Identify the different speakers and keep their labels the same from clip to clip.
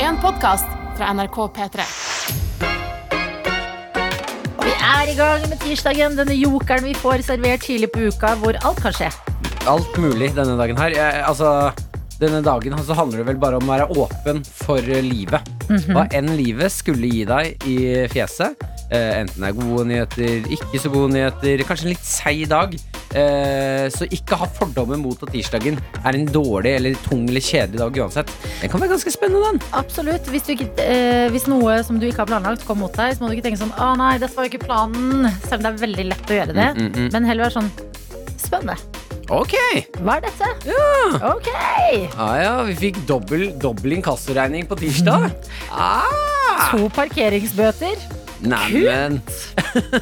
Speaker 1: en podkast fra NRK P3.
Speaker 2: Vi er i gang med tirsdagen, denne jokeren vi får servert tidlig på uka, hvor alt kan skje.
Speaker 3: alt mulig denne dagen her. Jeg, altså, denne dagen så handler det vel bare om å være åpen for eh, livet.
Speaker 2: Mhm.
Speaker 3: Hva enn livet skulle gi deg i fjeset. Eh, enten det er gode nyheter, ikke så gode nyheter, kanskje en litt seig dag. Eh, så ikke ha fordommer mot at tirsdagen er en dårlig eller tung eller kjedelig dag uansett. Den kan være ganske spennende, den.
Speaker 2: Absolutt. Hvis, du ikke, eh, hvis noe som du ikke har planlagt, kom mot deg, så må du ikke tenke sånn Å nei, dette var jo ikke planen. Selv om det er veldig lett å gjøre det.
Speaker 3: Mm, mm, mm.
Speaker 2: Men heller være sånn Spennende.
Speaker 3: Ok!
Speaker 2: Hva er dette? Ok!
Speaker 3: Ah, ja, vi fikk dobbel, dobbel inkassoregning på
Speaker 2: Mhm.
Speaker 3: tirsdag. Ah,
Speaker 2: To parkeringsbøter.
Speaker 3: Neimen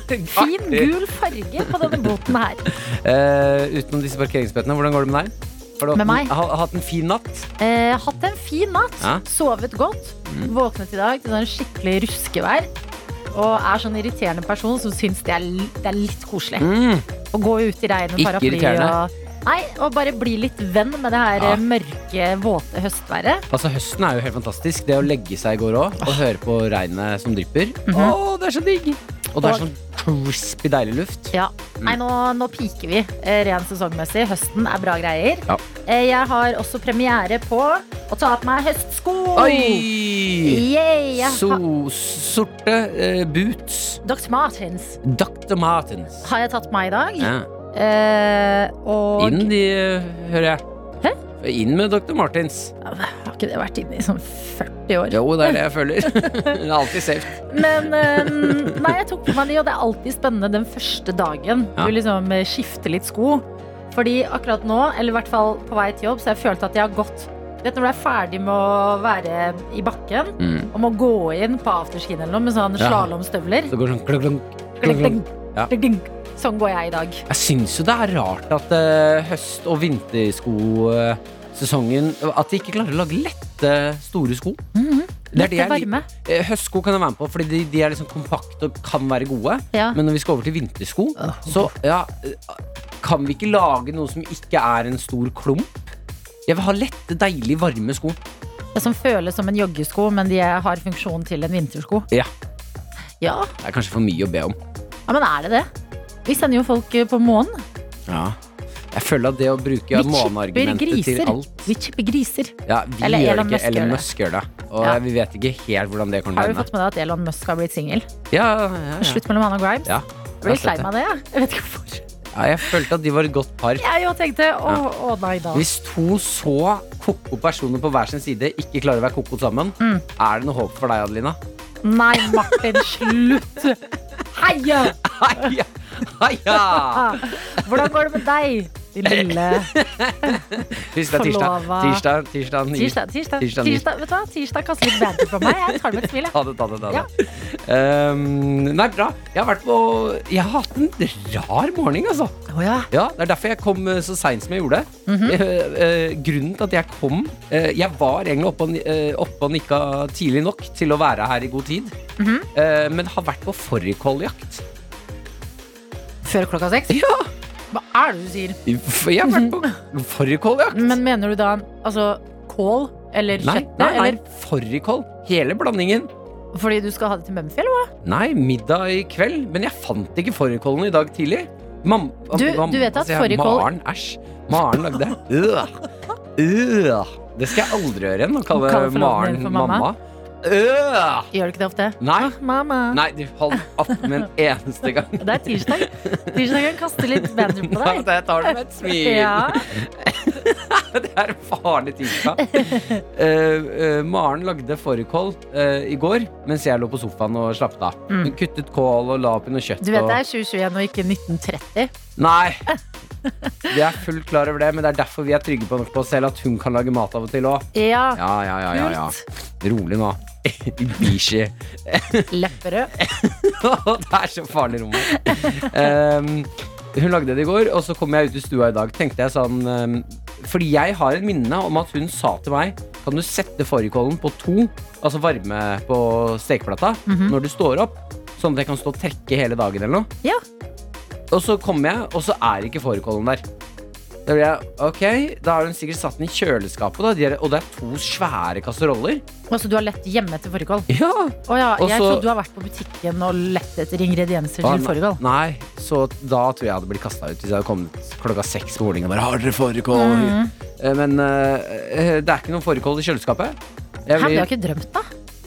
Speaker 2: Fin
Speaker 3: Artig.
Speaker 2: gul farge på denne boten her.
Speaker 3: Eh, utenom disse parkeringsbøtene, hvordan går det med deg? Har du hatt
Speaker 2: Med meg?
Speaker 3: En, ha, hatt en fin natt?
Speaker 2: Eh, hatt en fin natt,
Speaker 3: Ja. Mm.
Speaker 2: sovet godt, våknet i dag til sånn skikkelig ruskevær. Og er sånn irriterende person som syns det er, l- det er litt koselig. Å gå ut i regnet med
Speaker 3: Ikke
Speaker 2: paraply
Speaker 3: irriterende.
Speaker 2: og Nei, og bare bli litt venn med det her
Speaker 3: Ja.
Speaker 2: eh, mørke, våte høstværet.
Speaker 3: Altså Høsten er jo helt fantastisk. Det å legge seg i går òg og høre på regnet som drypper. Å, det er så digg! Og det er
Speaker 2: Mhm. Og-
Speaker 3: sånn crispy deilig luft.
Speaker 2: Ja. Nei, nå, nå piker vi eh, ren sesongmessig. Høsten er bra greier.
Speaker 3: Ja.
Speaker 2: Eh, jeg har også premiere på å ta på meg høstsko.
Speaker 3: Oi!
Speaker 2: Yay, jeg har,
Speaker 3: So, sorte eh, boots.
Speaker 2: Dr. Martens
Speaker 3: Dr. Martens.
Speaker 2: har jeg tatt på meg i dag.
Speaker 3: Ja.
Speaker 2: Eh, og
Speaker 3: Inn de, eh, hører jeg. Inn med Dr. Martens.
Speaker 2: Har ikke det vært inne i sånn 40 år?
Speaker 3: Jo, det er det jeg føler. det er alltid safe.
Speaker 2: Men eh, nei, jeg tok på meg de, og det er alltid spennende den første dagen.
Speaker 3: Ja.
Speaker 2: Du liksom eh, skifter litt sko. Fordi akkurat nå, eller i hvert fall på vei til jobb, så har jeg følt at jeg har gått Du vet når du er ferdig med å være i bakken,
Speaker 3: Mm.
Speaker 2: og må gå inn på afterskien eller noe med sånn
Speaker 3: Ja.
Speaker 2: slalåmstøvler
Speaker 3: Så går det sånn klunk, klunk, klunk, klunk. Ja.
Speaker 2: Sånn går jeg i dag.
Speaker 3: Jeg syns jo det er rart at eh, høst- og vinterskosesongen At de ikke klarer å lage lette, store sko. Det er det
Speaker 2: Lette
Speaker 3: jeg liker.
Speaker 2: varme.
Speaker 3: Eh, Høstsko kan jeg være med på, fordi de, de er liksom kompakte og kan være gode.
Speaker 2: Ja.
Speaker 3: Men når vi skal over til vintersko, så ja, eh, kan vi ikke lage noe som ikke er en stor klump? Jeg vil ha lette, deilig varme sko.
Speaker 2: Det som føles som en joggesko, men de har funksjon til en vintersko.
Speaker 3: Ja,
Speaker 2: Ja,
Speaker 3: Det er kanskje for mye å be om.
Speaker 2: ja men er det det? Vi sender jo folk eh, på månen.
Speaker 3: Ja. Jeg føler at det å bruke
Speaker 2: Vi chipper
Speaker 3: måneargumentet til
Speaker 2: griser.
Speaker 3: alt
Speaker 2: Vi chipper griser.
Speaker 3: Ja, vi
Speaker 2: Eller
Speaker 3: gjør
Speaker 2: Elon
Speaker 3: det
Speaker 2: Musk
Speaker 3: ikke. Elon
Speaker 2: gjør det.
Speaker 3: Musk gjør det. Og
Speaker 2: Ja.
Speaker 3: vi vet ikke helt hvordan det kommer
Speaker 2: Har
Speaker 3: til å
Speaker 2: du
Speaker 3: ende.
Speaker 2: fått med deg at Elon Musk har blitt singel?
Speaker 3: Ja, ja, ja, ja.
Speaker 2: Slutt mellom han og Grimes?
Speaker 3: Ja,
Speaker 2: jeg ble
Speaker 3: jeg har
Speaker 2: litt lei
Speaker 3: sett
Speaker 2: meg av det, jeg. Jeg vet ikke hvorfor.
Speaker 3: ja, jeg følte at de var et godt par.
Speaker 2: Jeg òg tenkte å, å nei da.
Speaker 3: Hvis to så ko-ko personer på hver sin side ikke klarer å være ko-ko sammen,
Speaker 2: Mm.
Speaker 3: er det noe håp for deg, Adelina?
Speaker 2: Nei, Martin, slutt! Heia!
Speaker 3: Heia! Heia!
Speaker 2: Ah, Hvordan går det med deg, din lille
Speaker 3: Tirsdag, tirsdag.
Speaker 2: Forlova.
Speaker 3: Tirsdag, tirsdag, ni.
Speaker 2: Tirsdag? Tirsdag,
Speaker 3: Tirsdag
Speaker 2: tirsdag,
Speaker 3: ni.
Speaker 2: vet du hva? Tirsdag kaster litt banter på meg. Jeg tar det med et smil, jeg.
Speaker 3: Ta det, ta det, ta det. Um, nei, bra. Jeg har vært på Jeg har hatt en rar morgen, altså.
Speaker 2: Å ja.
Speaker 3: Ja, Det er derfor jeg kom eh, så seint som jeg gjorde.
Speaker 2: Mhm.
Speaker 3: Eh, eh, grunnen til at jeg kom eh, Jeg var egentlig oppe og, ni- eh, oppe og nikka tidlig nok til å være her i god tid.
Speaker 2: Mhm.
Speaker 3: Eh, men har vært på fårikåljakt.
Speaker 2: Før klokka seks?
Speaker 3: Ja!
Speaker 2: Hva er det du sier?
Speaker 3: f- Jeg har vært på fårikåljakt.
Speaker 2: Mhm. Men mener du da altså kål eller
Speaker 3: Nei,
Speaker 2: kjøttet?
Speaker 3: nei, nei. fårikål. Hele blandingen.
Speaker 2: Eller fordi du skal ha det til Mumphy, eller hva?
Speaker 3: Nei, middag i kveld. Men jeg fant ikke fårikålen i dag tidlig. Mam,
Speaker 2: Du- du vet at
Speaker 3: altså, jeg-
Speaker 2: fårikål-
Speaker 3: Maren, æsj. Maren lagde det. Øh. Øh. Det skal jeg aldri gjøre igjen, å
Speaker 2: Kalle
Speaker 3: kalle
Speaker 2: forloveden
Speaker 3: Maren
Speaker 2: din for mamma.
Speaker 3: mamma. Øh.
Speaker 2: Gjør du ikke det ofte?
Speaker 3: Nei,
Speaker 2: Mamma.
Speaker 3: nei, du holdt opp med en eneste gang.
Speaker 2: Det er tirsdag. Tirsdagen kaster litt banter på
Speaker 3: Nei,
Speaker 2: deg.
Speaker 3: Jeg tar det med et smil.
Speaker 2: Ja.
Speaker 3: Det er en farlig tirsdag. Eh, eh, Maren lagde fårikål eh, i går mens jeg lå på sofaen og slappet av. Hun kuttet kål og la oppi noe kjøtt.
Speaker 2: Mm. Du vet det
Speaker 3: og...
Speaker 2: er 2021 og ikke 1930.
Speaker 3: Nei! Vi er fullt klar over det, men det er derfor vi er trygge på, på oss selv at hun kan lage mat av og til òg.
Speaker 2: Ja,
Speaker 3: Ja, ja, ja, ja, ja. Rolig nå. Bishi.
Speaker 2: Lepperød.
Speaker 3: det er så farlig rom her. Um, hun lagde det i går, og så kom jeg ut i stua i dag. Tenkte jeg sånn um, Fordi jeg har en minne om at hun sa til meg Kan du sette fårikålen på to, altså varme på stekeplata, når du står opp? Sånn at jeg kan stå og trekke hele dagen eller noe.
Speaker 2: Ja.
Speaker 3: Og så kommer jeg, og så er ikke fårikålen der. Da blir jeg, ok, da har hun sikkert satt den i kjøleskapet, da. De er, og det er to svære kasseroller.
Speaker 2: Altså, du har lett hjemme etter fårikål?
Speaker 3: Ja.
Speaker 2: Å ja, jeg
Speaker 3: Også-
Speaker 2: trodde du har vært på butikken og lett etter ingredienser
Speaker 3: Ah,
Speaker 2: til fårikål.
Speaker 3: Nei, så da tror jeg jeg hadde blitt kasta ut hvis jeg hadde kommet klokka seks på morgenen og bare Har dere fårikål?
Speaker 2: Mhm.
Speaker 3: Eh, Men eh, det er ikke noen fårikål i kjøleskapet. Jeg
Speaker 2: Her, det har
Speaker 3: blir,
Speaker 2: jeg ikke drømt, da.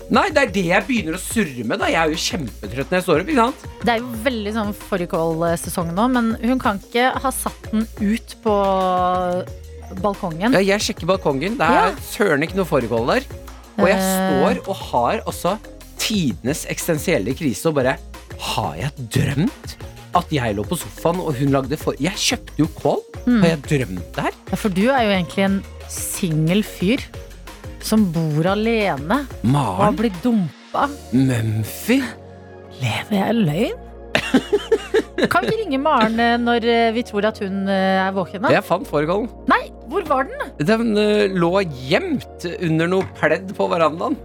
Speaker 3: nei, det er det jeg begynner å surre med, da. Jeg er jo kjempetrøtt når jeg står opp, ikke sant?
Speaker 2: Det er jo veldig sånn fårikålsesong nå, men hun kan ikke ha satt den ut på balkongen.
Speaker 3: Ja, jeg sjekker balkongen. Det er
Speaker 2: Ja.
Speaker 3: søren ikke noe fårikål der. Og jeg
Speaker 2: Eh.
Speaker 3: står og har også tidenes eksistensielle krise og bare Har jeg drømt at jeg lå på sofaen og hun lagde for... Jeg kjøpte jo kål.
Speaker 2: Mm.
Speaker 3: Har jeg drømt det her?
Speaker 2: Ja, For du er jo egentlig en singel fyr som bor alene og har
Speaker 3: Maren,
Speaker 2: blitt dumpa.
Speaker 3: Mumphy
Speaker 2: Lever jeg i løgn? Kan vi ringe Maren eh, når eh, vi tror at hun eh, er våken? da?
Speaker 3: Jeg fant fårikålen.
Speaker 2: Nei, hvor var den?
Speaker 3: Den eh, lå gjemt under noe pledd på verandaen.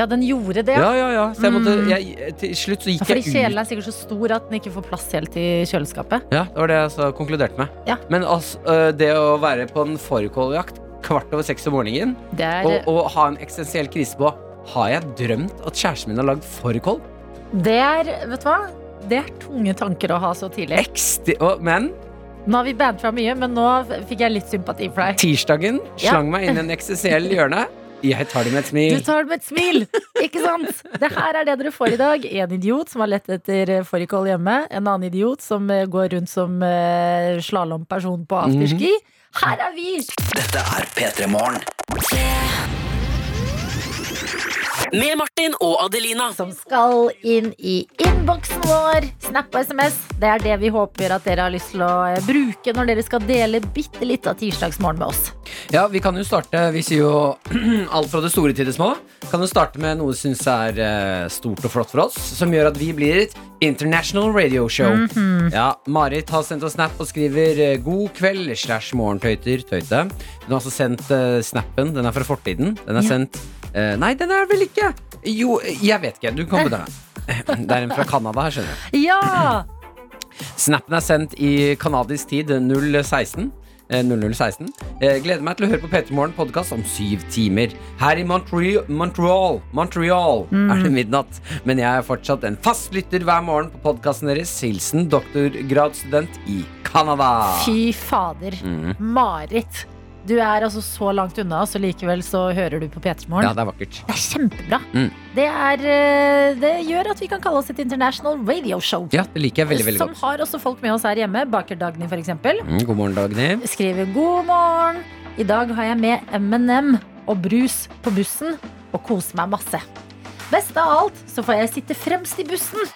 Speaker 2: Ja, den gjorde det.
Speaker 3: Ja, ja, ja. Så jeg måtte
Speaker 2: Mm.
Speaker 3: jeg, eh, Til slutt så
Speaker 2: Ja,
Speaker 3: gikk
Speaker 2: Fordi
Speaker 3: jeg ut.
Speaker 2: kjelen er sikkert så stor at den ikke får plass helt i kjøleskapet.
Speaker 3: Ja, det var det jeg så konkluderte med.
Speaker 2: Ja.
Speaker 3: Men altså, eh, det å være på en fårikåljakt kvart over seks om morgenen
Speaker 2: Det er,
Speaker 3: og, og ha en eksistensiell krise på Har jeg drømt at kjæresten min har lagd fårikål?
Speaker 2: det er, vet du hva? Det er tunge tanker å ha så tidlig.
Speaker 3: Eksti- og- Men
Speaker 2: Nå har vi bandt fra mye, men nå fikk jeg litt sympati for deg.
Speaker 3: tirsdagen
Speaker 2: Ja.
Speaker 3: slang meg inn i en eksistensiell hjørne. Jeg tar det med et
Speaker 2: Du
Speaker 3: smil.
Speaker 2: tar det med et smil, ikke sant? Det her er det dere får i dag. En idiot som har lett etter eh, fårikål hjemme. En annen idiot som eh, går rundt som eh, slalåmperson på afterski. Her er vi!
Speaker 4: Dette er P3 Morgen. Med Martin og Adelina.
Speaker 2: som skal inn i innboksen vår. Snap og SMS. Det er det vi håper at dere har lyst til å eh, bruke når dere skal dele bitte litt av tirsdagsmorgen med oss.
Speaker 3: Ja, vi kan jo starte Vi sier jo alt fra det store til det små. Kan jo starte med noe vi syns er eh, stort og flott for oss, som gjør at vi blir et international radio show. Ja, Marit har sendt oss snap og skriver eh, 'God kveld' slash 'morgentøyter'. Tøyte. Hun har også sendt eh, snappen. Den er fra fortiden. Den er
Speaker 2: Ja.
Speaker 3: sendt eh, Nei, den er vel ikke Jo, jeg vet ikke. Du kan bedømme. Det er en fra Canada her, skjønner du.
Speaker 2: Ja!
Speaker 3: Snappen er sendt i kanadisk tid 016. eh, 0016. Eh, Gleder meg til å høre på P3 Morgen podkast om syv timer. Her i Montre Montreal, Montreal
Speaker 2: Mm.
Speaker 3: er det midnatt, men jeg er fortsatt en fast lytter hver morgen på podkasten deres. Hilsen doktorgradsstudent i Canada.
Speaker 2: Fy fader.
Speaker 3: Mm.
Speaker 2: Marit. Du er altså så langt unna oss, og likevel så hører du på
Speaker 3: Ja,
Speaker 2: P3morgen.
Speaker 3: det er vakkert.
Speaker 2: Det er kjempebra.
Speaker 3: Mm.
Speaker 2: Det, er, eh, det gjør at vi kan kalle oss et international radio show.
Speaker 3: Ja, det liker jeg veldig, veldig
Speaker 2: som
Speaker 3: godt.
Speaker 2: har også folk med oss her hjemme. Baker Dagny, for eksempel.
Speaker 3: Mm, god morgen, Dagny.
Speaker 2: skriver god morgen. I dag har jeg med M&M og brus på bussen og koser meg masse. Best av alt så får jeg sitte fremst i bussen.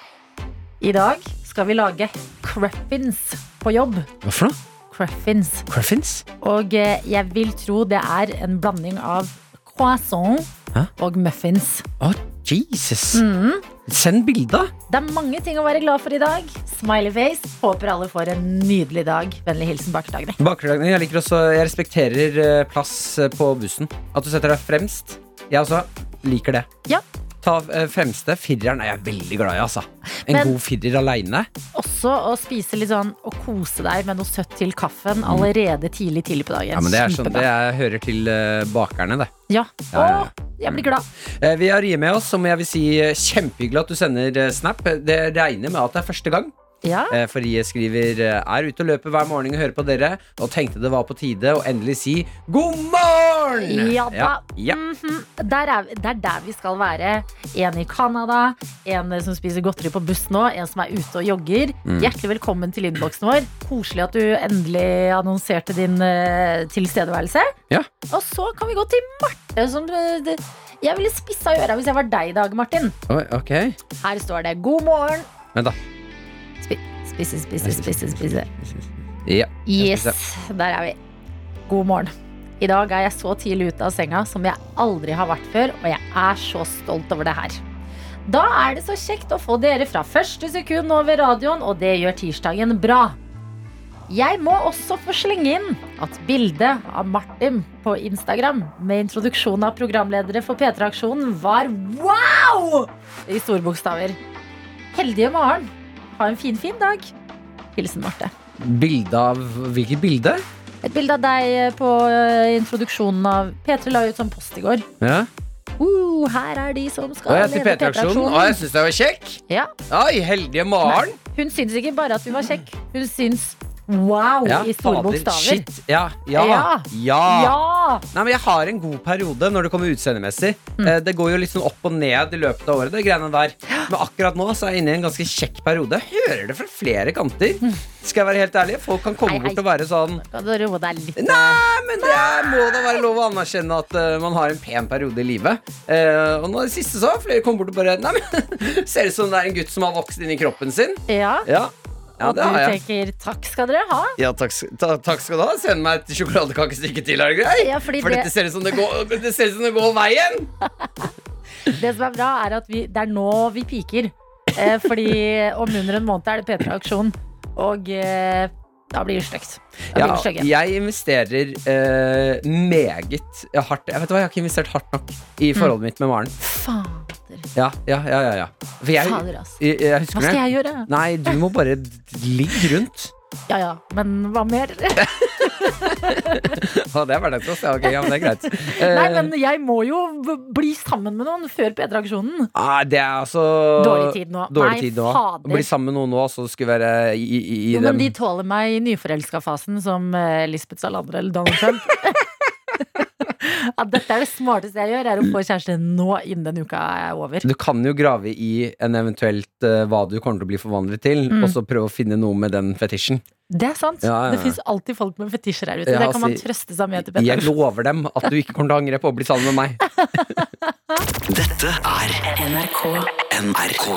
Speaker 2: I dag skal vi lage cruffins på jobb.
Speaker 3: Hva for noe?
Speaker 2: Cruffins.
Speaker 3: Cruffins?
Speaker 2: Og eh, jeg vil tro det er en blanding av croissant
Speaker 3: Hæ?
Speaker 2: og muffins.
Speaker 3: Å, Jesus.
Speaker 2: Mm.
Speaker 3: Send bilde.
Speaker 2: Det er mange ting å være glad for i dag. Smiley face. Håper alle får en nydelig dag. Vennlig hilsen Baker Dagny.
Speaker 3: Bakgrunnen, jeg liker også Jeg respekterer eh, plass eh, på bussen. At du setter deg fremst. Jeg også liker det.
Speaker 2: Ja.
Speaker 3: Ta eh, fremste. Fireren er jeg veldig glad i, altså. En
Speaker 2: Men-
Speaker 3: god firer aleine.
Speaker 2: også å spise litt sånn og kose deg med noe søtt til kaffen allerede tidlig tidlig på dagen.
Speaker 3: Mm. Ja, men det er sånn
Speaker 2: Kjempebra.
Speaker 3: det jeg hører til eh, bakerne, det.
Speaker 2: Ja.
Speaker 3: Ja, ja, ja.
Speaker 2: Å, jeg blir glad.
Speaker 3: Eh, Vi har Rie med oss, som jeg vil si eh, kjempehyggelig at du sender eh, snap. Det regner med at det er første gang.
Speaker 2: Ja.
Speaker 3: Eh, For Rie skriver eh, er ute og løper hver morgen og hører på dere, og tenkte det var på tide å endelig si god morgen!
Speaker 2: Ja da.
Speaker 3: Ja, ja.
Speaker 2: Mhm. Der er, vi- det er der vi skal være. En i Canada, en eh, som spiser godteri på buss nå, en som er ute og jogger.
Speaker 3: Mm.
Speaker 2: Hjertelig velkommen til innboksen vår. Koselig at du endelig annonserte din eh, tilstedeværelse.
Speaker 3: Ja.
Speaker 2: Og så kan vi gå til Marte, som eh, det, Jeg ville spissa øra hvis jeg var deg i dag, Martin.
Speaker 3: Oi, ok.
Speaker 2: Her står det 'God morgen'.
Speaker 3: Vent da.
Speaker 2: Spi- Spisse, spisse, spisse, spisse.
Speaker 3: Ja. Jeg skal
Speaker 2: Yes, der er vi. God morgen. I dag er jeg så tidlig ute av senga som jeg aldri har vært før, og jeg er så stolt over det her. Da er det så kjekt å få dere fra første sekund over radioen, og det gjør tirsdagen bra. Jeg må også få slenge inn at bildet av Martin på Instagram med introduksjon av programledere for P3-aksjonen var wow! i store bokstaver. Heldige morgen. Ha en finfin fin dag. Hilsen Marte.
Speaker 3: Bilde av Hvilket bilde?
Speaker 2: Et bilde av deg på eh, introduksjonen av P3 la ut sånn post i går.
Speaker 3: Ja.
Speaker 2: Uh, her er de som skal
Speaker 3: Og jeg til
Speaker 2: lede
Speaker 3: P3-aksjonen. Og jeg syns jeg var kjekk.
Speaker 2: Ja.
Speaker 3: Oi, heldige Maren.
Speaker 2: Hun syns ikke bare at vi var kjekk hun syns wow
Speaker 3: Ja,
Speaker 2: i store
Speaker 3: fader,
Speaker 2: bokstaver.
Speaker 3: Shit. Ja, ja,
Speaker 2: Ja.
Speaker 3: ja.
Speaker 2: Ja!
Speaker 3: Nei, men Jeg har en god periode når det kommer utseendemessig.
Speaker 2: Mm.
Speaker 3: Eh, Det går jo litt sånn opp og ned i løpet av året. det greiene der Men akkurat nå så er jeg inne i en ganske kjekk periode. Jeg hører det fra flere kanter.
Speaker 2: Mm.
Speaker 3: Skal jeg være helt ærlig? Folk kan komme
Speaker 2: Hei, hei.
Speaker 3: bort og være sånn
Speaker 2: Kan du roe deg litt?
Speaker 3: Nei, men det er, må da være lov å anerkjenne at eh, man har en pen periode i livet. Eh, og nå i det siste så har flere kommet bort og bare Nei, men Ser ut som det er en gutt som har vokst inn i kroppen sin.
Speaker 2: eh? Ja.
Speaker 3: Ja, ja
Speaker 2: og
Speaker 3: det har
Speaker 2: du
Speaker 3: jeg.
Speaker 2: tenker takk skal dere ha.
Speaker 3: Ja, takk, sk- ta, takk skal du ha. Send meg et sjokoladekakestykke til, er det greit?
Speaker 2: Ja, fordi
Speaker 3: For
Speaker 2: det-
Speaker 3: dette ser ut som det går, det ser ut som det går veien!
Speaker 2: Det som er bra, er at vi, det er nå vi piker. Eh, fordi om under en måned er det P3-aksjon. Og eh, da blir det stygt. Da blir
Speaker 3: Ja,
Speaker 2: det stygge.
Speaker 3: jeg investerer eh, meget hardt. Jeg vet hva, jeg har ikke investert hardt nok i
Speaker 2: Mm.
Speaker 3: forholdet mitt med Maren.
Speaker 2: Fader.
Speaker 3: Ja, ja, ja, ja, ja. For jeg,
Speaker 2: Fader, ass.
Speaker 3: jeg, jeg husker
Speaker 2: Hva skal
Speaker 3: det.
Speaker 2: jeg gjøre?
Speaker 3: Nei, du må bare ligge rundt.
Speaker 2: Ja ja, men hva mer?
Speaker 3: Ja, det er hverdagskost. Ja, ok, ja, men det er greit. Eh,
Speaker 2: Nei, men jeg må jo b- bli sammen med noen før P3-aksjonen.
Speaker 3: ah, det er altså
Speaker 2: Dårlig tid nå.
Speaker 3: Dårlig
Speaker 2: Nei,
Speaker 3: tid nå.
Speaker 2: fader.
Speaker 3: Bli sammen med noen nå, så skulle være i, i, i
Speaker 2: Jo, men
Speaker 3: dem.
Speaker 2: de tåler meg i nyforelska-fasen, som eh, Lisbeth Salander eller Donald Trump. ja, dette er det smarteste jeg gjør, er å få kjæreste nå innen den uka er over.
Speaker 3: Du kan jo grave i en eventuelt eh, hva du kommer til å bli forvandlet til,
Speaker 2: Mm.
Speaker 3: og så prøve å finne noe med den fetisjen.
Speaker 2: Det er sant.
Speaker 3: Ja, ja, ja.
Speaker 2: Det fins alltid folk med fetisjer her ute.
Speaker 3: Ja,
Speaker 2: det kan man
Speaker 3: altså,
Speaker 2: trøste seg med til Petter.
Speaker 3: Jeg lover dem at du ikke kommer til å angre på å bli sammen med meg.
Speaker 4: Dette er NRK.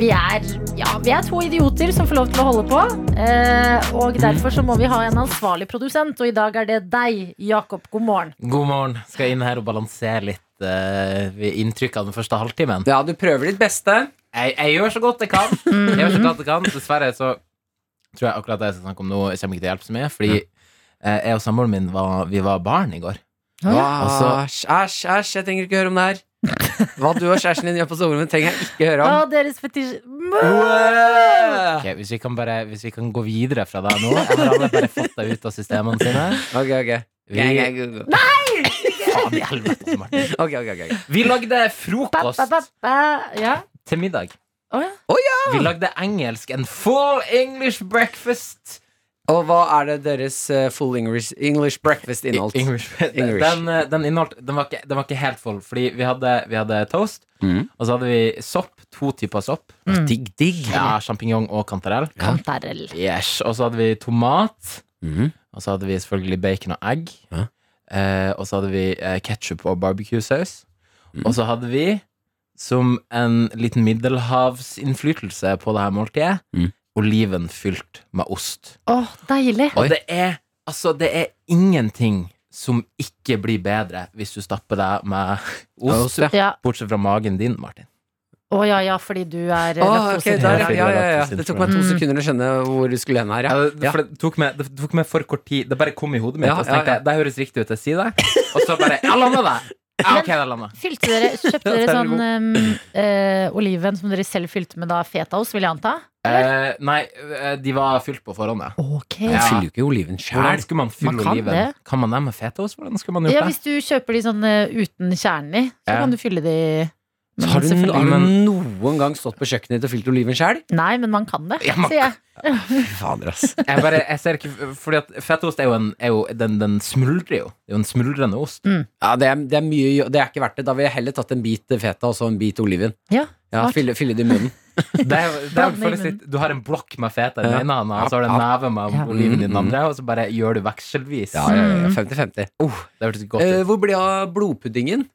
Speaker 2: Vi er, ja, vi er to idioter som får lov til å holde på. Eh, og
Speaker 3: Mm.
Speaker 2: derfor så må vi ha en ansvarlig produsent, og i dag er det deg, Jakob. God morgen.
Speaker 5: God morgen. Skal jeg inn her og balansere litt eh, inntrykkene den første halvtimen?
Speaker 3: Ja, du prøver ditt beste.
Speaker 5: Jeg, jeg gjør så godt jeg kan. Jeg gjør så godt jeg kan. Dessverre så tror jeg akkurat det jeg skal snakke om nå, kommer ikke til å hjelpe så mye. Fordi eh, jeg og samboeren min var, vi var barn i går.
Speaker 3: Hva? Ah, Æsj, æsj, æsj, jeg trenger ikke høre om det her. Hva du og kjæresten din gjør på soverommet, trenger jeg ikke høre
Speaker 2: Å,
Speaker 3: om.
Speaker 2: deres fetisj...
Speaker 3: Wow!
Speaker 5: Ok, hvis, vi kan bare, hvis vi kan gå videre fra det nå Jeg har alle bare fått det ut av systemene sine.
Speaker 3: Ok, ok.
Speaker 5: Vi-
Speaker 3: Nei!
Speaker 5: Faen i helvete, Martin.
Speaker 3: Ok, ok, ok.
Speaker 5: Vi lagde
Speaker 2: Ba, ba, ba,
Speaker 5: frokost
Speaker 2: ba. Ja.
Speaker 5: til middag.
Speaker 2: Å, ja.
Speaker 5: Vi lagde engelsk. En full English breakfast.
Speaker 3: Og hva er det deres eh, full English, English breakfast inneholdt?
Speaker 5: English.
Speaker 3: English.
Speaker 5: Den, eh, den, inneholdt, den, var ikke, den var ikke helt full, fordi vi hadde, vi hadde toast,
Speaker 3: Mhm.
Speaker 5: og så hadde vi sopp. To typer sopp.
Speaker 3: Digg, digg.
Speaker 5: Ja, Sjampinjong og kantarell.
Speaker 2: Kantarell.
Speaker 5: Yes. Og så hadde vi tomat.
Speaker 3: Mhm.
Speaker 5: Og så hadde vi selvfølgelig bacon og egg.
Speaker 3: Ja.
Speaker 5: Eh, og så hadde vi eh, ketsjup og barbecue-saus.
Speaker 3: Mm.
Speaker 5: Og så hadde vi, som en liten middelhavsinnflytelse på det her måltidet,
Speaker 3: Mhm.
Speaker 5: oliven fylt med ost.
Speaker 2: Å, deilig.
Speaker 5: Og det er, altså, det er ingenting som ikke blir bedre hvis du stapper deg med ost.
Speaker 3: ja.
Speaker 2: Ja.
Speaker 5: Bortsett fra magen din, Martin.
Speaker 2: Å ja, ja, fordi du er eh,
Speaker 3: Å, ok, der,
Speaker 2: laktoseintolerant.
Speaker 3: ja, ja, ja. Det tok meg to
Speaker 2: Mm.
Speaker 3: sekunder å skjønne hvor du skulle hen her.
Speaker 5: Ja,
Speaker 3: Ja.
Speaker 5: det, for det, tok meg, det tok meg for kort tid. Det bare kom i hodet mitt.
Speaker 3: Ja,
Speaker 5: og så tenkte
Speaker 3: ja, ja.
Speaker 5: jeg, Det høres riktig ut, jeg sier det. Og så bare Jeg landa det! Ja, ok, det landa.
Speaker 2: Fylte dere, Kjøpte
Speaker 3: Ja,
Speaker 2: dere
Speaker 3: den er
Speaker 2: sånn ehm, eh, oliven som dere selv fylte med da fetaost, vil jeg anta?
Speaker 5: Eh, nei, eh, de var fylt på forhånd, ja.
Speaker 2: Ok.
Speaker 3: Du
Speaker 5: Ja.
Speaker 3: fyller jo ikke oliven
Speaker 5: Hvordan
Speaker 3: sjæl.
Speaker 5: skulle man fylle
Speaker 2: Man kan
Speaker 5: oliven?
Speaker 2: det.
Speaker 5: Kan man det med fetaost? Hvordan skulle man gjort
Speaker 2: Ja,
Speaker 5: det?
Speaker 2: hvis du kjøper de sånn eh, uten kjernen i, så
Speaker 5: Ja.
Speaker 2: kan du fylle de Men
Speaker 3: Har du,
Speaker 2: selvfølgelig-
Speaker 3: har du
Speaker 5: Men-
Speaker 3: noen gang stått på kjøkkenet ditt og fylt oliven sjæl?
Speaker 2: Nei, men man kan det,
Speaker 5: Ja, man
Speaker 2: sier jeg.
Speaker 3: Fader, ass.
Speaker 5: Jeg bare, jeg ser ikke Fordi at fetaost er jo en er jo, den, den smuldrer jo. Det er jo en smuldrende ost.
Speaker 3: Ja, det, er, det, er mye, jo- det er ikke verdt det. Da ville jeg heller tatt en bit feta og så en bit oliven.
Speaker 2: Ja,
Speaker 3: Ja,
Speaker 2: smart.
Speaker 3: fylle, fylle det i munnen.
Speaker 5: Det er, jo- det er, jo-
Speaker 2: Blanding,
Speaker 5: føles litt, du har en blokk med feta i den
Speaker 3: Ja.
Speaker 5: ene hånda, og så har du en neve med
Speaker 2: Ja.
Speaker 5: oliven i den
Speaker 3: Mm, mm.
Speaker 5: andre, og så bare gjør du vekselvis.
Speaker 3: Ja, ja, ja, 50-50.
Speaker 5: Uh, det hørtes godt
Speaker 3: Mm. Eh,
Speaker 5: ut.
Speaker 3: hvor ble det av blodpuddingen?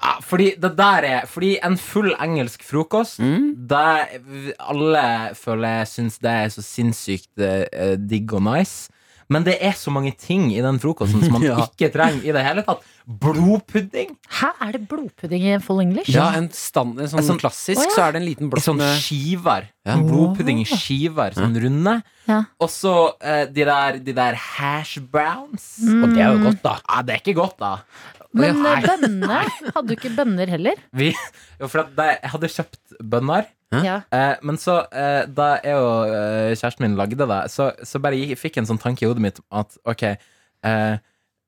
Speaker 5: Ja, fordi det der er Fordi en full engelsk frokost,
Speaker 3: Mm.
Speaker 5: det alle føler jeg syns det er så sinnssykt eh, digg og nice. Men det er så mange ting i den frokosten som man
Speaker 3: Ja. Mm,
Speaker 5: ikke trenger i det hele tatt. Blodpudding!
Speaker 2: Hæ, er det blodpudding i full English?
Speaker 3: Ja, en, stand, en sånn,
Speaker 5: En sånn-
Speaker 3: klassisk,
Speaker 2: Å, ja.
Speaker 3: så er det en sånn liten
Speaker 5: I
Speaker 3: blokk
Speaker 5: sånne
Speaker 3: med
Speaker 5: skiver. Sånn Blodpudding i skiver, sånn runde.
Speaker 2: Ja.
Speaker 5: Og så eh, de, der, de der hash browns. Og det er jo godt, da. Ja, det er ikke godt, da.
Speaker 2: Men
Speaker 5: Nei.
Speaker 2: eh, bønner, hadde du ikke bønner heller?
Speaker 5: Vi, jo, for at det, jeg hadde kjøpt bønner,
Speaker 3: Hæ?
Speaker 2: Ja.
Speaker 5: Eh, men så, eh, da jeg og eh, kjæresten min lagde det, så, så bare jeg fikk en sånn tanke i hodet mitt at ok, eh,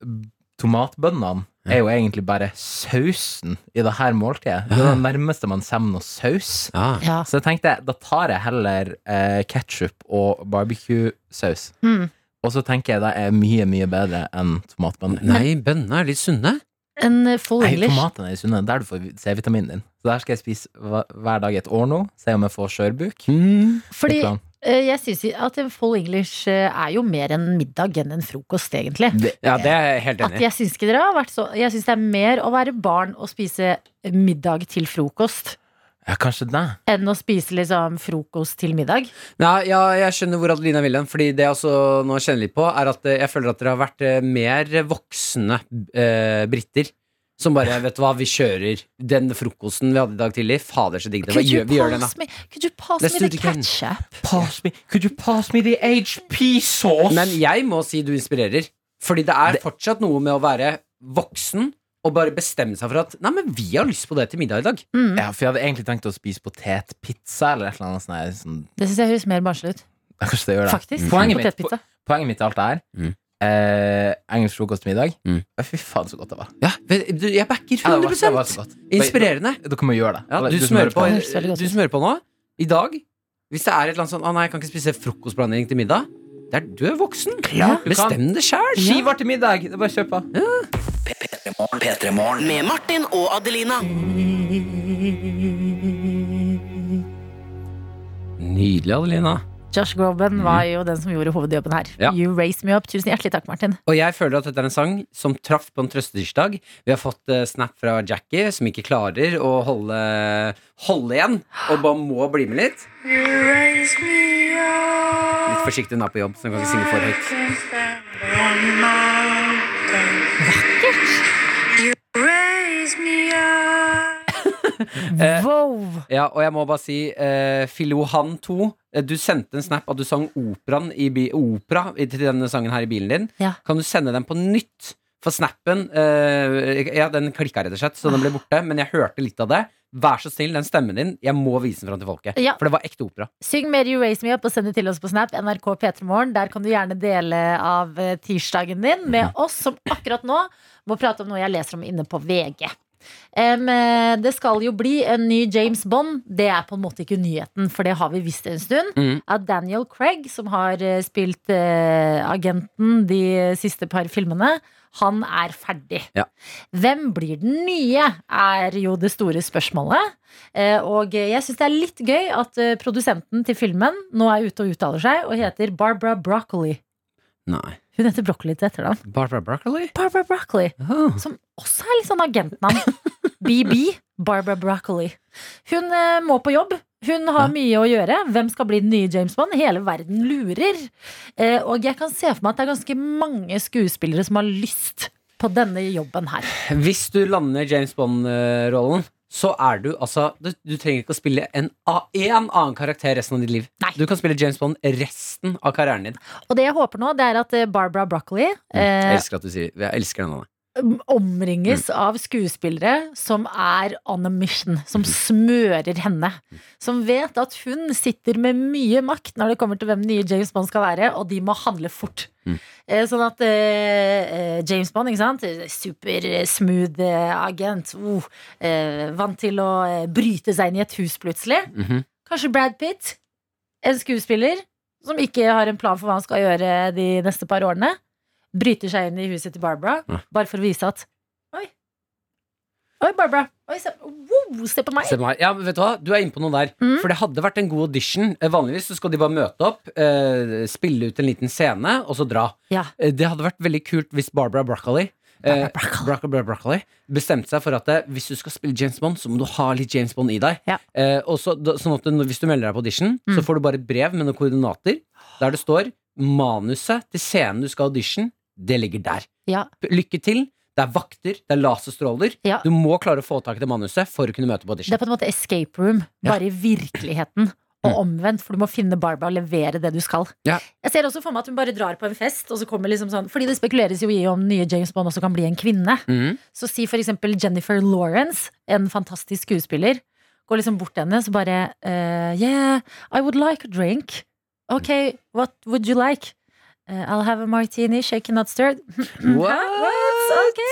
Speaker 5: b- tomatbønnene er jo egentlig bare sausen i det her måltidet. Det er det nærmeste man kommer noe saus.
Speaker 3: Ja.
Speaker 2: Ja.
Speaker 5: Så jeg tenkte, da tar jeg heller eh, ketchup og barbecue-saus.
Speaker 2: Mm.
Speaker 5: Og så tenker jeg det er mye, mye bedre enn tomatbønner.
Speaker 3: Nei, bønnene er litt sunne.
Speaker 2: En eh, full
Speaker 5: Nei,
Speaker 2: English.
Speaker 5: tomatene er sunne. Der du får C-vitaminen din. Så der skal jeg spise hva- hver dag i et år nå. Se om jeg får skjørbuk.
Speaker 3: Mm.
Speaker 2: Fordi
Speaker 5: Plan.
Speaker 2: eh, jeg syns at en full English eh, er jo mer en middag enn en frokost, egentlig.
Speaker 3: Ja, det er jeg helt
Speaker 2: At
Speaker 3: enig i.
Speaker 2: jeg syns ikke dere har vært så Jeg syns det er mer å være barn og spise middag til frokost
Speaker 5: Ja, kanskje det.
Speaker 2: enn å spise liksom frokost til middag.
Speaker 3: Ja, ja, jeg skjønner hvor Adelina vil hen. Fordi det jeg også nå kjenner litt på, er at eh, jeg føler at dere har vært eh, mer voksne eh, briter. Som bare Vet du hva, vi kjører den frokosten vi hadde i dag tidlig. Fader, så digg det var.
Speaker 2: Could you
Speaker 3: Gjør, vi gjør den,
Speaker 2: pass
Speaker 3: da.
Speaker 2: me, could you pass
Speaker 3: Let's
Speaker 2: me
Speaker 3: do
Speaker 2: the
Speaker 3: it again.
Speaker 2: ketchup?
Speaker 5: Pass me, could you pass me the HP sauce?
Speaker 3: Men jeg må si du inspirerer. Fordi det er fortsatt noe med å være voksen og bare bestemme seg for at Nei, men vi har lyst på det til middag i dag.
Speaker 2: Hmm,
Speaker 5: ja, for jeg hadde egentlig tenkt å spise potetpizza eller et eller annet sånt. der, sånn-
Speaker 2: Det syns jeg høres mer barnslig ut.
Speaker 5: Ja, Kanskje det gjør det.
Speaker 2: Faktisk.
Speaker 5: Poenget mitt,
Speaker 2: Potetpizza.
Speaker 5: po- poenget mitt i alt det her
Speaker 3: Mm.
Speaker 5: eh, Engelsk frokost middag.
Speaker 3: Mm.
Speaker 5: Ja, Fy faen, så godt det var.
Speaker 3: Ja, du, jeg
Speaker 5: Ja,
Speaker 3: backer
Speaker 5: det var, det var
Speaker 3: 100
Speaker 5: så godt.
Speaker 3: Inspirerende.
Speaker 5: Dere må gjøre det.
Speaker 3: Ja,
Speaker 5: Eller,
Speaker 3: du, smører på,
Speaker 2: Det høres veldig godt
Speaker 3: du
Speaker 2: ut.
Speaker 3: smører på nå, i dag, hvis det er et eller annet sånn 'Å nei, jeg kan ikke spise frokostblanding til middag', det er, du er voksen.
Speaker 5: Klart du kan.
Speaker 3: Bestem det sjæl.
Speaker 5: Skiver til middag! Det er bare å kjøpe.
Speaker 4: P3morgen.
Speaker 6: Med Martin og Adelina.
Speaker 3: Nydelig, Adelina.
Speaker 2: Josh Groban var jo den som gjorde hovedjobben her.
Speaker 3: Mhm. Ja.
Speaker 2: You raise me up. Tusen hjertelig takk, Martin.
Speaker 3: Og jeg føler at dette er en sang som traff på en trøstetirsdag. Vi har fått eh, snap fra Jackie, som ikke klarer å holde, holde igjen, og bare må bli med litt. Litt forsiktig, hun er på jobb, så hun kan ikke synge for høyt. Eh.
Speaker 2: Wow!
Speaker 3: Ja, og jeg må bare si, eh, Filohan 2, eh, du sendte en snap at du sang operaen i bi opera i- til denne sangen her i bilen din.
Speaker 2: Ja.
Speaker 3: Kan du sende den på nytt? For snappen eh, Ja, den klikka rett og slett, så den ble borte. Men jeg hørte litt av det. Vær så snill, den stemmen din. Jeg må vise den fram til folket.
Speaker 2: Ja.
Speaker 3: For det var ekte opera.
Speaker 2: Syng mer You Raise Me Up og send det til oss på Snap. NRK P3morgen. Der kan du gjerne dele av eh, tirsdagen din med oss som akkurat nå må prate om noe jeg leser om inne på VG. Em, eh, det skal jo bli en ny James Bond. Det er på en måte ikke nyheten, for det har vi visst en stund.
Speaker 3: Mm.
Speaker 2: At Daniel Craig, som har eh, spilt eh, agenten de siste par filmene, han er ferdig.
Speaker 3: Ja.
Speaker 2: Hvem blir den nye, er jo det store spørsmålet. Eh, Og jeg syns det er litt gøy at eh, produsenten til filmen nå er ute og uttaler seg og heter Barbara Broccoli.
Speaker 3: Nei.
Speaker 2: Hun heter Broccoli til etternavn.
Speaker 3: Barbara Broccoli?
Speaker 2: Barbara Broccoli,
Speaker 3: Oh.
Speaker 2: som også er litt sånn agentnavn. BB. Barbara Broccoli. Hun eh, må på jobb. Hun har mye å gjøre. Hvem skal bli den nye James Bond? Hele verden lurer. Eh, Og jeg kan se for meg at det er ganske mange skuespillere som har lyst på denne jobben her.
Speaker 3: Hvis du lander James Bond-rollen, så er du altså Du, du trenger ikke å spille en, a- en annen karakter resten av ditt liv.
Speaker 2: Nei.
Speaker 3: Du kan spille James Bond resten av karrieren din.
Speaker 2: Og det jeg håper nå, det er at eh, Barbara Broccoli eh,
Speaker 3: Mm. Jeg elsker at du sier Jeg elsker den. Anna.
Speaker 2: omringes av skuespillere som er on a mission, som smører henne. Som vet at hun sitter med mye makt når det kommer til hvem den nye James Bond skal være, og de må handle fort. Eh, Sånn at eh, eh, James Bond, ikke sant? Supersmooth eh, agent. Oh, eh, vant til å eh, bryte seg inn i et hus plutselig.
Speaker 3: Mhm.
Speaker 2: Kanskje Brad Pitt, en skuespiller som ikke har en plan for hva han skal gjøre de neste par årene. Bryter seg inn i huset til Barbara,
Speaker 3: Ja.
Speaker 2: bare for å vise at Oi, Oi Barbara. Oi, se, wow, se på meg.
Speaker 3: Se på meg. Ja, men vet Du hva? Du er inne på noe der.
Speaker 2: Mm.
Speaker 3: For det hadde vært en god audition. Eh, Vanligvis så skal de bare møte opp, eh, spille ut en liten scene, og så dra.
Speaker 2: Ja.
Speaker 3: Eh, Det hadde vært veldig kult hvis Barbara Broccoli eh, Barbara Broccoli bestemte seg for at eh, hvis du skal spille James Bond, så må du ha litt James Bond i deg.
Speaker 2: Ja.
Speaker 3: Eh, og så, da, sånn at du, Hvis du melder deg på audition, så får du bare et brev med noen koordinater der det står manuset til scenen du skal ha audition, det ligger der.
Speaker 2: Ja.
Speaker 3: Lykke til. Det er vakter, det er laserstråler.
Speaker 2: Ja.
Speaker 3: Du må klare å få tak i det manuset for å kunne møte på audition.
Speaker 2: Det er på en måte escape room,
Speaker 3: Ja. Mm.
Speaker 2: bare i virkeligheten. Og omvendt, for du må finne Barbara og levere det du skal.
Speaker 3: Ja.
Speaker 2: Jeg ser også for meg at hun bare drar på en fest, og så kommer liksom sånn Fordi det spekuleres jo i om nye James Bond også kan bli en kvinne.
Speaker 3: Mhm.
Speaker 2: Så si for eksempel Jennifer Lawrence, en fantastisk skuespiller, Går liksom bort til henne, så bare eh, Yeah, I would like a drink. Ok, what would you like? Eh, I'll have a martini, shaken not stirred. Mhm. What? Ok.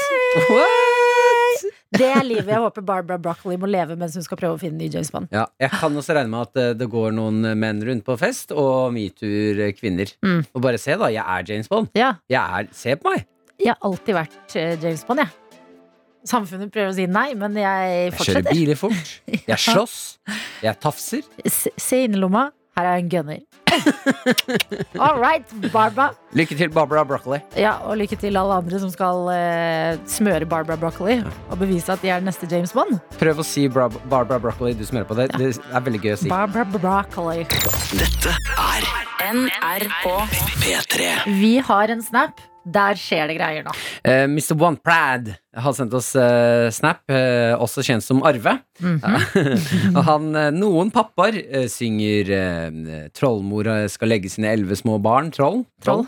Speaker 3: What?
Speaker 2: Det er livet jeg håper Barbara Broccoli må leve mens hun skal prøve å finne ny James Bond.
Speaker 3: Ja, jeg kan også regne med at eh, det går noen menn rundt på fest og metoo-kvinner.
Speaker 2: Mm.
Speaker 3: Og bare se, da. Jeg er James Bond.
Speaker 2: Ja,
Speaker 3: Jeg er, se på meg!
Speaker 2: jeg har alltid vært eh, James Bond, jeg. Samfunnet prøver å si nei, men jeg
Speaker 3: Jeg kjører
Speaker 2: fortsetter.
Speaker 3: biler fort. Jeg slåss. Jeg tafser.
Speaker 2: Se se inn i lomma. Her er en gunner. All right, Barbara.
Speaker 3: Lykke til, Barbara Broccoli.
Speaker 2: Ja, og lykke til alle andre som skal eh, smøre Barbara Broccoli og bevise at de er neste James Bond.
Speaker 3: Prøv å si Bra Barbara Broccoli, du som hører på det. Det er veldig gøy å si.
Speaker 2: Barbara Broccoli.
Speaker 4: Dette er
Speaker 1: NRK.
Speaker 4: P3.
Speaker 2: Vi har en snap. Der skjer det greier nå.
Speaker 3: Eh, Mr. One Prad har sendt oss eh, snap, eh, også kjent som Arve.
Speaker 2: Mhm.
Speaker 3: Og han, eh, noen pappaer eh, synger eh, 'Trollmor skal legge sine elleve små barn', troll,
Speaker 2: Troll.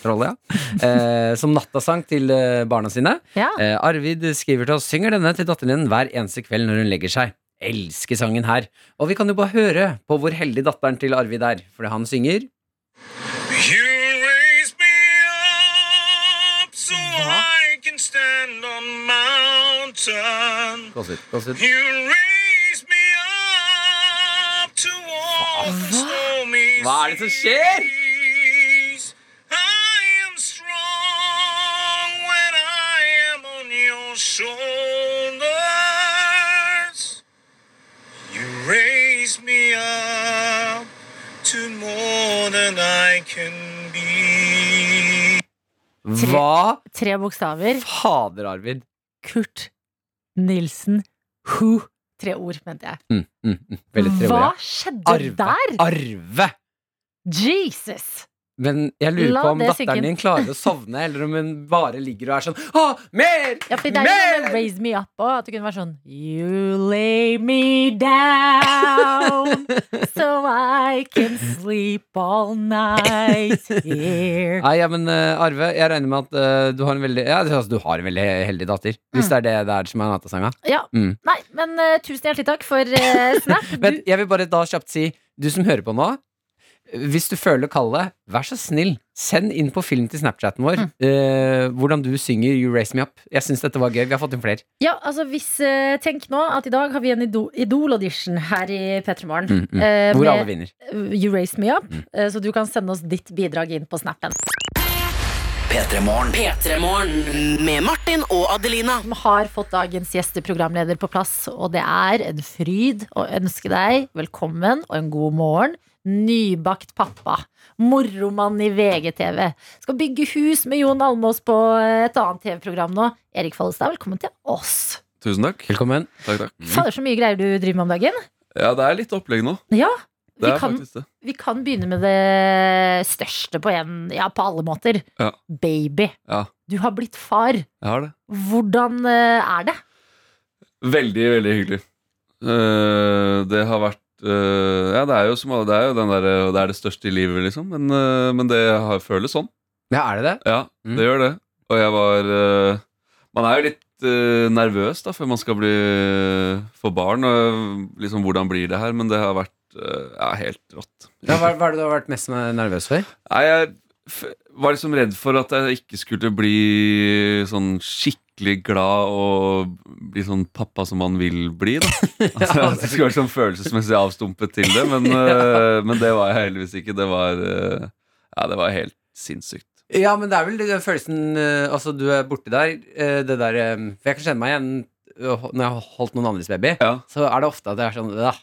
Speaker 3: troll ja. eh, som nattasang til eh, barna sine.
Speaker 2: Ja.
Speaker 3: Eh, Arvid skriver til oss 'Synger denne til datteren din hver eneste kveld når hun legger seg'. Elsker sangen her. Og vi kan jo bare høre på hvor heldig datteren til Arvid er, fordi han synger
Speaker 6: You raise me up so I can stand on mountain.
Speaker 3: Gås ut, gås ut.
Speaker 6: You raise me up to walk stormy
Speaker 3: Hva er det som skjer?
Speaker 6: seas. I am strong when I am on your shoulders. You raise me up to more than I can be.
Speaker 3: Hva
Speaker 2: Tre bokstaver.
Speaker 3: fader, Arvid?
Speaker 2: Kurt Nilsen Who. Tre ord, mente jeg.
Speaker 3: Mm, mm, mm. Veldig trevlig.
Speaker 2: Hva skjedde der?
Speaker 3: Arve!
Speaker 2: Jesus!
Speaker 3: Men jeg lurer
Speaker 2: La
Speaker 3: på om
Speaker 2: det synke
Speaker 3: datteren
Speaker 2: inn.
Speaker 3: din klarer å sovne, eller om hun bare ligger og er sånn Å, mer!
Speaker 2: Ja, for det er jo noe med
Speaker 3: mer!
Speaker 2: Raise Me Up òg. At det kunne være sånn You lay me down so I can sleep all night here.
Speaker 3: Nei, ja, men eh, Arve, jeg regner med at eh, du har en veldig Ja, altså, du har en veldig heldig datter.
Speaker 2: Mm.
Speaker 3: Hvis det er det det er som er nattasanga.
Speaker 2: Ja.
Speaker 3: Mm.
Speaker 2: Nei, men eh, tusen hjertelig takk for eh, Snap.
Speaker 3: Men
Speaker 2: Du,
Speaker 3: jeg vil bare da kjapt si, du som hører på nå hvis du føler kallet, vær så snill, send inn på film til Snapchaten vår
Speaker 2: Mm.
Speaker 3: eh, hvordan du synger You Raise Me Up. Jeg syns dette var gøy. Vi har fått inn flere.
Speaker 2: ja, altså hvis eh, Tenk nå at i dag har vi en Ido- Idol-audition her i P3 Morgen.
Speaker 3: Mm, mm.
Speaker 2: eh,
Speaker 3: Hvor Mm.
Speaker 2: med-
Speaker 3: alle vinner.
Speaker 2: You Raise Me Up. eh, Så du kan sende oss ditt bidrag inn på snappen.
Speaker 4: P3morgen. P3morgen. Med Martin og Adelina.
Speaker 2: Som har fått dagens gjesteprogramleder på plass, og det er en fryd å ønske deg velkommen og en god morgen. Nybakt pappa. Moromann i VGTV. Skal bygge hus med Jon Almås på eh, et annet TV-program nå. Erik Follestad, velkommen til oss.
Speaker 7: Tusen takk.
Speaker 3: Velkommen.
Speaker 7: Takk, takk.
Speaker 2: Fader, så mye greier du driver med om dagen.
Speaker 7: Ja, det er litt opplegg nå.
Speaker 2: Ja,
Speaker 7: Det
Speaker 2: vi
Speaker 7: er
Speaker 2: kan,
Speaker 7: faktisk det.
Speaker 2: vi kan begynne med det største på, en, ja, på alle måter.
Speaker 7: Ja.
Speaker 2: Baby.
Speaker 7: Ja.
Speaker 2: Du har blitt far.
Speaker 7: Jeg har det.
Speaker 2: Hvordan eh, er det?
Speaker 7: Veldig, veldig hyggelig. Eh, det har vært eh, Ja, det er jo som alle- Det er jo den der, eh, det er det største i livet, liksom. Men, eh, men det har, føles sånn.
Speaker 3: Ja, er det det?
Speaker 7: Ja,
Speaker 3: Mm.
Speaker 7: det gjør det. Og jeg var eh, Man er jo litt eh, nervøs da før man skal bli eh, få barn. Og liksom hvordan blir det her? Men det har vært eh, ja, helt rått.
Speaker 3: Ja, hva, hva er det du har vært mest nervøs for?
Speaker 7: Nei, jeg f var liksom redd for at jeg ikke skulle bli sånn skikkelig glad og bli sånn pappa som man vil bli, da. Altså, at jeg skulle være sånn følelsesmessig avstumpet til det, men, øh, men det var jeg heldigvis ikke. Det var, øh, ja, det var helt sinnssykt.
Speaker 3: Ja, men det er vel den følelsen eh, Altså, du er borte der. eh, Det der eh, For jeg kan kjenne meg igjen eh, når jeg har holdt noen andres baby.
Speaker 7: Ja.
Speaker 3: Så er det ofte at jeg er sånn «Åh,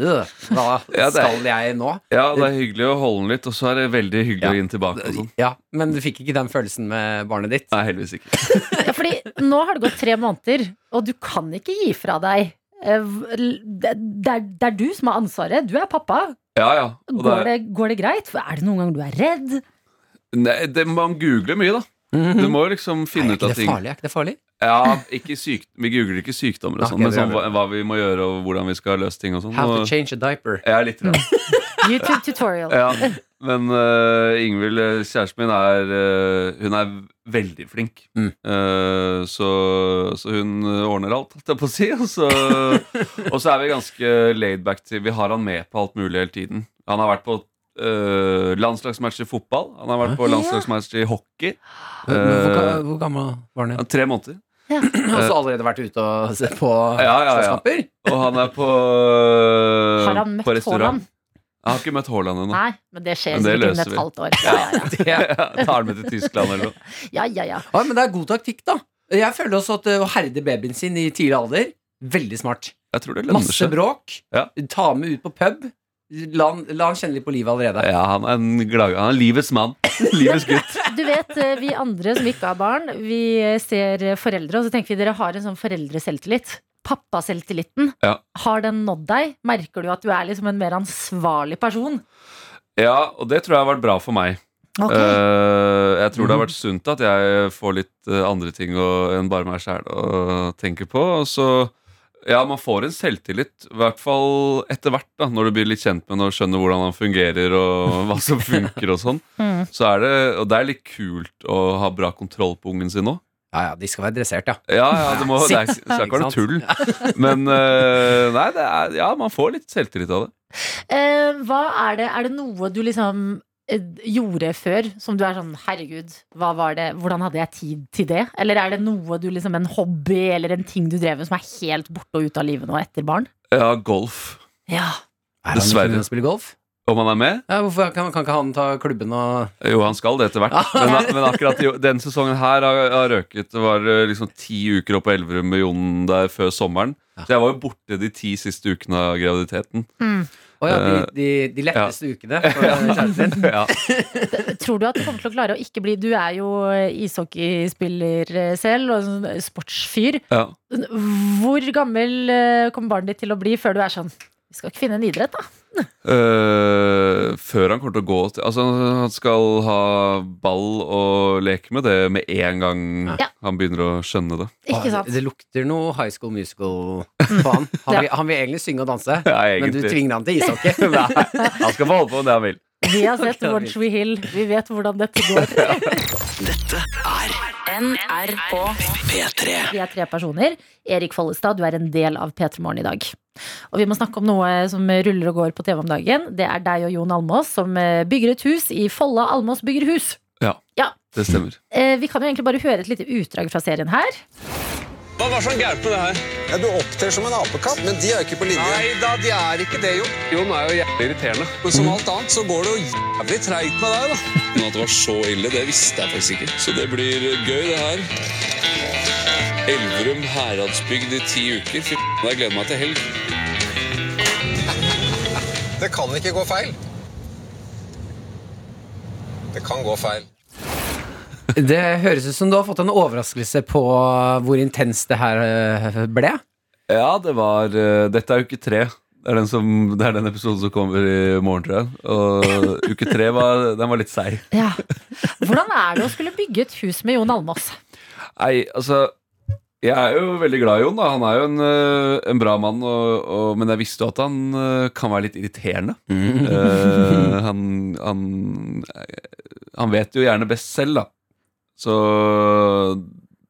Speaker 3: øh, Hva
Speaker 7: Ja, det er-
Speaker 3: skal jeg nå?
Speaker 7: ja, det er hyggelig å holde den litt, og så er det veldig hyggelig
Speaker 3: Ja.
Speaker 7: å gi den tilbake. Og sånn.
Speaker 3: Ja, Men du fikk ikke den følelsen med barnet ditt?
Speaker 7: Nei, heldigvis ikke.
Speaker 2: Ja, fordi nå har det gått tre måneder, og du kan ikke gi fra deg. Eh, v- Det det er, det er du som har ansvaret. Du er pappa.
Speaker 7: Ja, ja. Og det
Speaker 2: Går
Speaker 7: er,
Speaker 2: det, går det greit? Er det noen gang du er redd?
Speaker 7: nei, det, man googler mye, da. Du må jo liksom
Speaker 3: Er Mhm.
Speaker 7: finne ut
Speaker 3: ikke
Speaker 7: av
Speaker 3: det
Speaker 7: ting.
Speaker 3: farlig? Er ikke det farlig?
Speaker 7: Ja, ikke syk, vi googler ikke sykdommer og
Speaker 3: Ok,
Speaker 7: sånn, men
Speaker 3: det er
Speaker 7: sånn, hva, hva vi må gjøre og hvordan vi skal løse ting og sånn.
Speaker 3: How to
Speaker 7: Og-
Speaker 3: change a diaper.
Speaker 7: Jeg er litt redd.
Speaker 2: YouTube tutorial.
Speaker 7: Ja, men uh, Ingvild, eh, kjæresten min, er eh, Hun er veldig flink.
Speaker 3: Mm.
Speaker 7: Eh, så, så hun ordner alt, holdt jeg på å si. Og så, og så er vi ganske laid back til Vi har han med på alt mulig hele tiden. Han har vært på eh, landslagsmatch i fotball. Han har vært på landslagsmatch i hockey. Eh,
Speaker 3: Hvor, hvor, hvor gammel var han?
Speaker 7: Ja, Tre måneder.
Speaker 3: Han har også allerede vært ute og sett på
Speaker 7: eh, Ja, ja, ja.
Speaker 3: slåsskamper.
Speaker 7: Og han er på øh,
Speaker 2: Har han møtt
Speaker 7: på restaurant.
Speaker 2: Haaland?
Speaker 7: Jeg har ikke møtt Haaland ennå.
Speaker 2: Nei, men det skjer
Speaker 7: Men det
Speaker 2: sikkert innen
Speaker 7: løser
Speaker 2: et
Speaker 7: vi.
Speaker 2: halvt år. Ja, ja, ja.
Speaker 7: Jeg tar han med til Tyskland eller noe.
Speaker 2: ja, ja, ja.
Speaker 3: Ja, men det er god taktikk, da. Jeg føler også at eh, å herde babyen sin i tidlig alder, veldig smart.
Speaker 7: Jeg tror det lønner
Speaker 3: Masse
Speaker 7: seg.
Speaker 3: bråk.
Speaker 7: Ja.
Speaker 3: Ta med ut på pub. La han, la han kjenne litt på livet allerede.
Speaker 7: Ja, han er en glad Han er livets mann. Livets gutt.
Speaker 2: Du vet, eh, vi andre som ikke har barn, vi eh, ser eh, foreldre, og så tenker vi dere har en sånn foreldreselvtillit. Pappaselvtilliten.
Speaker 7: Ja.
Speaker 2: Har den nådd deg? Merker du at du er liksom en mer ansvarlig person?
Speaker 7: Ja, og det tror jeg har vært bra for meg. Eh, jeg tror det har
Speaker 2: Mhm.
Speaker 7: vært sunt at jeg får litt eh, andre ting å- enn bare meg sjæl å tenke på. Og så ja, man får en selvtillit, i hvert fall etter hvert, da, når du blir litt kjent med ham og skjønner hvordan han fungerer og hva som funker og sånn.
Speaker 2: Mm.
Speaker 7: Så er det, og det er litt kult å ha bra kontroll på ungen sin òg.
Speaker 3: Ja, ja, de skal være dressert, ja.
Speaker 7: Ja, ja, det må, det er, det er ikke
Speaker 3: Ikke
Speaker 7: noe
Speaker 3: sant?
Speaker 7: tull. Men eh, nei, det er, ja, man får litt selvtillit av det.
Speaker 2: Eh, hva er det, er det noe du liksom eh, gjorde før som du er sånn herregud, hva var det, hvordan hadde jeg tid til det? Eller er det noe du liksom en hobby eller en ting du drev med som er helt borte og ute av livet nå etter barn?
Speaker 7: Ja, golf.
Speaker 2: Ja.
Speaker 3: Er han ikke
Speaker 7: Dessverre.
Speaker 3: med å spille golf?
Speaker 7: Om han er med?
Speaker 3: Ja, hvorfor kan, kan ikke han ta klubben og
Speaker 7: Jo, han skal det etter hvert. Men, men akkurat i- denne sesongen her har, har røket. Det var eh, liksom ti uker oppe på Elverum med Jon der før sommeren. Så jeg var jo borte de ti siste ukene av graviditeten.
Speaker 3: Å ja, de, de, de letteste ukene for kjæresten din.
Speaker 7: Eh, Ja.
Speaker 2: Tror du at du kommer til å klare å ikke bli Du er jo ishockeyspiller selv og sånn sportsfyr.
Speaker 7: Ja.
Speaker 2: Hvor gammel eh, kommer barnet ditt til å bli før du er sånn Vi skal ikke finne en idrett, da.
Speaker 7: Eh, før han kommer til å gå til Altså, han skal ha ball og leke med det med en gang
Speaker 2: Ja.
Speaker 7: han begynner å skjønne det.
Speaker 2: Ikke sant? Mm.
Speaker 3: Det lukter noe High School Musical på han. Han vil, han vil egentlig synge og danse,
Speaker 7: Ja,
Speaker 3: men du
Speaker 7: egentlig.
Speaker 3: tvinger han til ishockey.
Speaker 7: Nei, han skal få holde på med det han vil.
Speaker 2: Vi har sett One Tree Hill. Vi vet hvordan dette går.
Speaker 4: Dette er
Speaker 8: NRK.
Speaker 4: P3.
Speaker 2: Vi er tre personer. Erik Follestad, du er en del av P3 Morgen i dag. Og vi må snakke om noe som ruller og går på TV om dagen. Det er deg og Jon Almås som eh, bygger et hus i Folla Almås bygger hus.
Speaker 7: Det stemmer.
Speaker 2: Eh, Vi kan jo egentlig bare høre et lite utdrag fra serien her.
Speaker 9: Hva var sånn gærent med det her?
Speaker 10: Ja, Du oppter som en apekatt, men de er jo ikke på linje.
Speaker 9: Nei da, de er ikke det, jo.
Speaker 7: Jon er jo jævlig irriterende.
Speaker 10: Men som alt annet så går det jo jævlig treigt med deg, da.
Speaker 9: Men at det var så ille, det visste jeg faktisk ikke. Så det blir gøy, det her. Elverum heradsbygd i ti uker. Fy faen, jeg gleder meg til helg.
Speaker 10: Det kan ikke gå feil. Det kan gå feil.
Speaker 3: Det høres ut som du har fått en overraskelse på hvor intenst det her eh, ble.
Speaker 7: Ja, det var eh, Dette er uke tre. Det er, den som, det er den episoden som kommer i morgen, tror jeg. Og uke tre var, den var litt seig.
Speaker 2: Ja. Hvordan er det å skulle bygge et hus med Jon Almaas?
Speaker 7: Nei, altså Jeg er jo veldig glad i Jon. da Han er jo en, eh, en bra mann, og, og, men jeg visste jo at han eh, kan være litt irriterende. Eh, han, han, han vet jo gjerne best selv, da. Så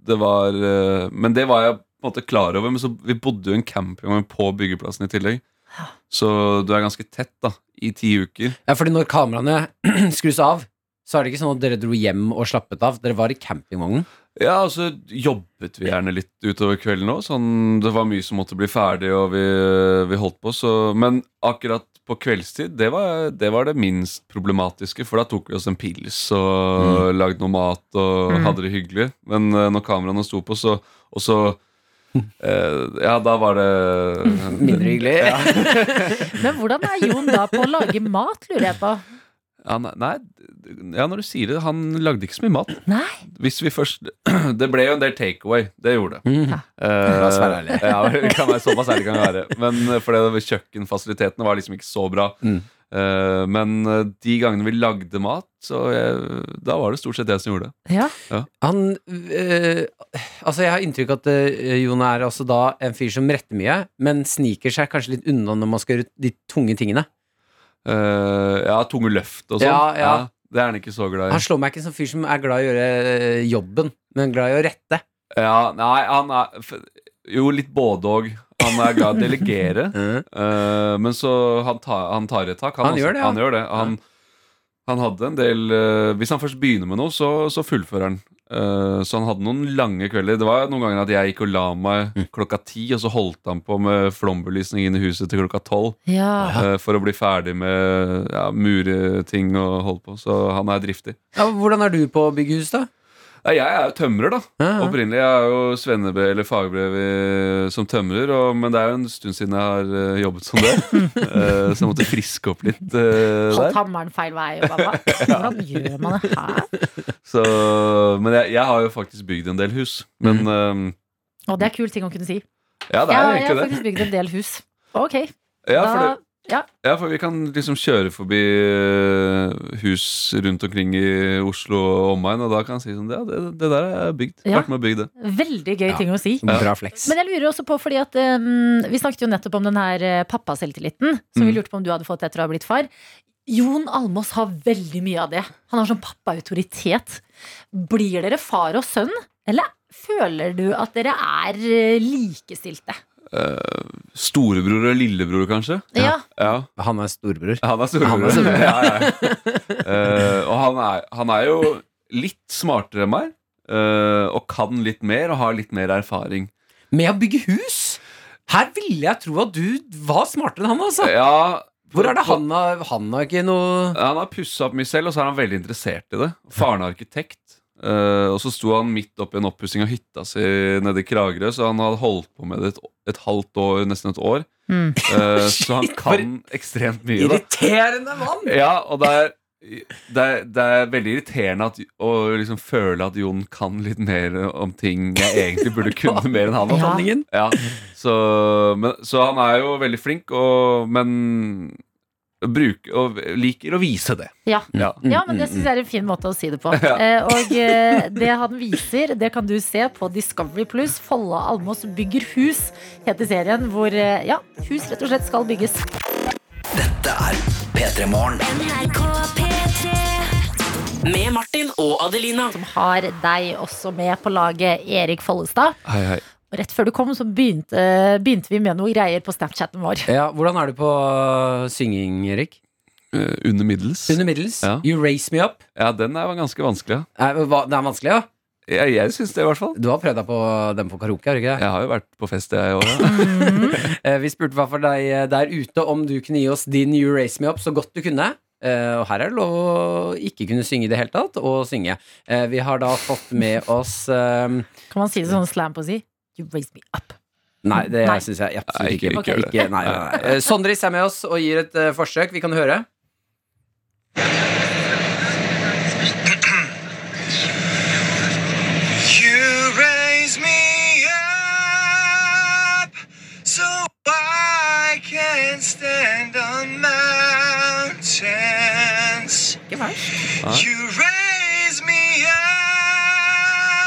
Speaker 7: det var eh, Men det var jeg på en måte klar over. Men så vi bodde jo i en campingvogn på byggeplassen i tillegg. Så du er ganske tett da i ti uker.
Speaker 3: Ja, fordi når kameraene skrus av, så er det ikke sånn at dere dro hjem og slappet av. Dere var i campingvognen.
Speaker 7: Ja, og så jobbet vi gjerne litt utover kvelden òg. Sånn, det var mye som måtte bli ferdig, og vi, vi holdt på. Så, men akkurat på kveldstid, det var, det var det minst problematiske. For da tok vi oss en pils og lagde noe mat og hadde det hyggelig. Men eh, når kameraene sto på, så Og så eh, Ja, da var det
Speaker 3: Mindre hyggelig.
Speaker 2: Men hvordan er Jon da på å lage mat, lurer jeg på.
Speaker 7: ja, nei, nei, ja, når du sier det, han lagde ikke så mye mat.
Speaker 2: Nei,
Speaker 7: Hvis vi først Det ble jo en del takeaway. Det gjorde det.
Speaker 3: Mm.
Speaker 7: Eh,
Speaker 3: La oss være ærlige.
Speaker 7: ja, det kan være såpass ærlig kan vi være. Men eh, for det, kjøkkenfasilitetene var liksom ikke så bra.
Speaker 3: Mm.
Speaker 7: Eh, men eh, de gangene vi lagde mat, så eh, da var det stort sett jeg som gjorde det.
Speaker 2: ja.
Speaker 3: Han øh, Altså, jeg har inntrykk av at øh, Jon er altså da en fyr som retter mye, men sniker seg kanskje litt unna når man skal gjøre de tunge tingene.
Speaker 7: eh, ja, tunge løft og sånn.
Speaker 3: Ja, ja.
Speaker 7: det er han ikke så glad i.
Speaker 3: Han slår meg ikke som fyr som er glad i å gjøre eh, jobben, men glad i å rette.
Speaker 7: Ja, nei, han er f- Jo, litt både òg. Han er glad i å delegere, eh, men så han tar, han tar et tak.
Speaker 3: Han gjør det, ja.
Speaker 7: han, gjør det. Han, han hadde en del eh, Hvis han først begynner med noe, så, så fullfører han. Eh, så han hadde noen lange kvelder. Det var noen ganger at jeg gikk og la meg
Speaker 3: Mm.
Speaker 7: klokka ti, og så holdt han på med flombelysning inn i huset til klokka tolv
Speaker 2: Ja.
Speaker 7: eh, for å bli ferdig med ja, mureting og holde på. Så han er driftig.
Speaker 3: Ja, hvordan er du på å bygge hus, da?
Speaker 7: Nei, jeg er jo tømrer, da.
Speaker 3: Ja, ja.
Speaker 7: Opprinnelig jeg er jo svennebrev eller fagbrev i, som tømrer, og, men det er jo en stund siden jeg har eh, jobbet som det. Eh, så jeg måtte friske opp litt eh,
Speaker 2: Holdt
Speaker 7: der.
Speaker 2: hammeren feil vei. og bare, hva- Hvordan gjør man det her?
Speaker 7: Så, men jeg, jeg har jo faktisk bygd en del hus. Men
Speaker 3: Mm.
Speaker 2: Og det er kul ting å kunne si.
Speaker 7: eh, ja, det er
Speaker 2: Ja,
Speaker 7: jo
Speaker 2: jeg har
Speaker 7: egentlig det.
Speaker 2: faktisk bygd en del hus. Ok,
Speaker 7: Ja, for det.
Speaker 2: da
Speaker 7: Ja, for vi kan liksom kjøre forbi eh, hus rundt omkring i Oslo og omegn, og da kan jeg si sånn Ja, det, det der er bygd.
Speaker 2: Ja.
Speaker 7: Vært med og bygd det.
Speaker 2: Veldig gøy ting å si.
Speaker 7: Ja.
Speaker 3: Bra flex.
Speaker 2: Men jeg lurer også på, fordi at eh, vi snakket jo nettopp om den her eh, pappaselvtilliten, som vi
Speaker 7: Mm.
Speaker 2: lurte på om du hadde fått etter å ha blitt far. Jon Almås har veldig mye av det. Han har sånn pappaautoritet. Blir dere far og sønn, eller føler du at dere er eh, likestilte?
Speaker 7: Storebror og lillebror, kanskje?
Speaker 2: Ja.
Speaker 7: Ja.
Speaker 3: Han er storebror.
Speaker 7: Han er storebror.
Speaker 3: Han er storebror.
Speaker 7: ja, ja. Eh, og han er, han er jo litt smartere enn meg, eh, og kan litt mer og har litt mer erfaring.
Speaker 3: Med å bygge hus? Her ville jeg tro at du var smartere enn han, altså.
Speaker 7: Ja,
Speaker 3: Hvor er det han har Han har ikke noe
Speaker 7: Han har pussa opp mye selv, og så er han veldig interessert i det. Faren er arkitekt, eh, og så sto han midt oppi en oppussing av hytta si nede i Kragerø, så han hadde holdt på med det et, et halvt år, nesten et år.
Speaker 2: Mm.
Speaker 7: Eh, så han
Speaker 3: Shit, for-
Speaker 7: kan ekstremt mye, da.
Speaker 3: Irriterende mann!
Speaker 7: Ja, og det er, det er, det er veldig irriterende at, å liksom føle at Jon kan litt mer om ting jeg egentlig burde kunne mer enn han.
Speaker 2: Ja.
Speaker 3: Sanningen.
Speaker 7: Ja, så, men, så han er jo veldig flink, og, men bruker, og liker å vise det.
Speaker 2: Ja.
Speaker 7: Ja.
Speaker 2: Ja, men det syns jeg er en fin måte å si det på. Eh, og eh, det han viser, det kan du se på Discovery Pluss. Folla Almås bygger hus, heter serien hvor eh, ja, hus rett og slett skal bygges.
Speaker 4: Dette er P3 Morgen. Med Martin og Adelina.
Speaker 2: har deg også med på laget, Erik Follestad.
Speaker 7: Hei, hei.
Speaker 2: Og rett før du kom, så begynte, begynte vi med noe greier på Snapchatten vår.
Speaker 3: Ja, hvordan er du på øh, synging, Erik?
Speaker 7: Eh, under middels.
Speaker 3: Under middels?
Speaker 7: Ja.
Speaker 3: You raise me up?
Speaker 7: Ja, den er ganske vanskelig. ja.
Speaker 3: Nei, men hva- Det er vanskelig, ja?
Speaker 7: Jeg, jeg syns det, i hvert fall.
Speaker 3: Du har prøvd deg på den på karaoke, har du ikke det?
Speaker 7: Jeg har jo vært på fest, jeg òg.
Speaker 3: Eh, Vi spurte hva for deg eh, der ute om du kunne gi oss din You Raise Me Up så godt du kunne. Eh, Og her er det lov å ikke kunne synge i det hele tatt, og synge. Eh, Vi har da fått med oss eh,
Speaker 2: Kan man si det sånn slam på å si? You raise me up.
Speaker 3: Nei, det
Speaker 2: Nei.
Speaker 3: syns jeg
Speaker 7: Nei,
Speaker 3: absolutt
Speaker 7: ikke-
Speaker 3: ikke.
Speaker 7: ikke gjør det.
Speaker 3: Ikke- nei, nei, nei. Eh, Sondris er med oss og gir et eh, forsøk. Vi kan høre.
Speaker 6: You raise me up so I can stand on mountains. You raise me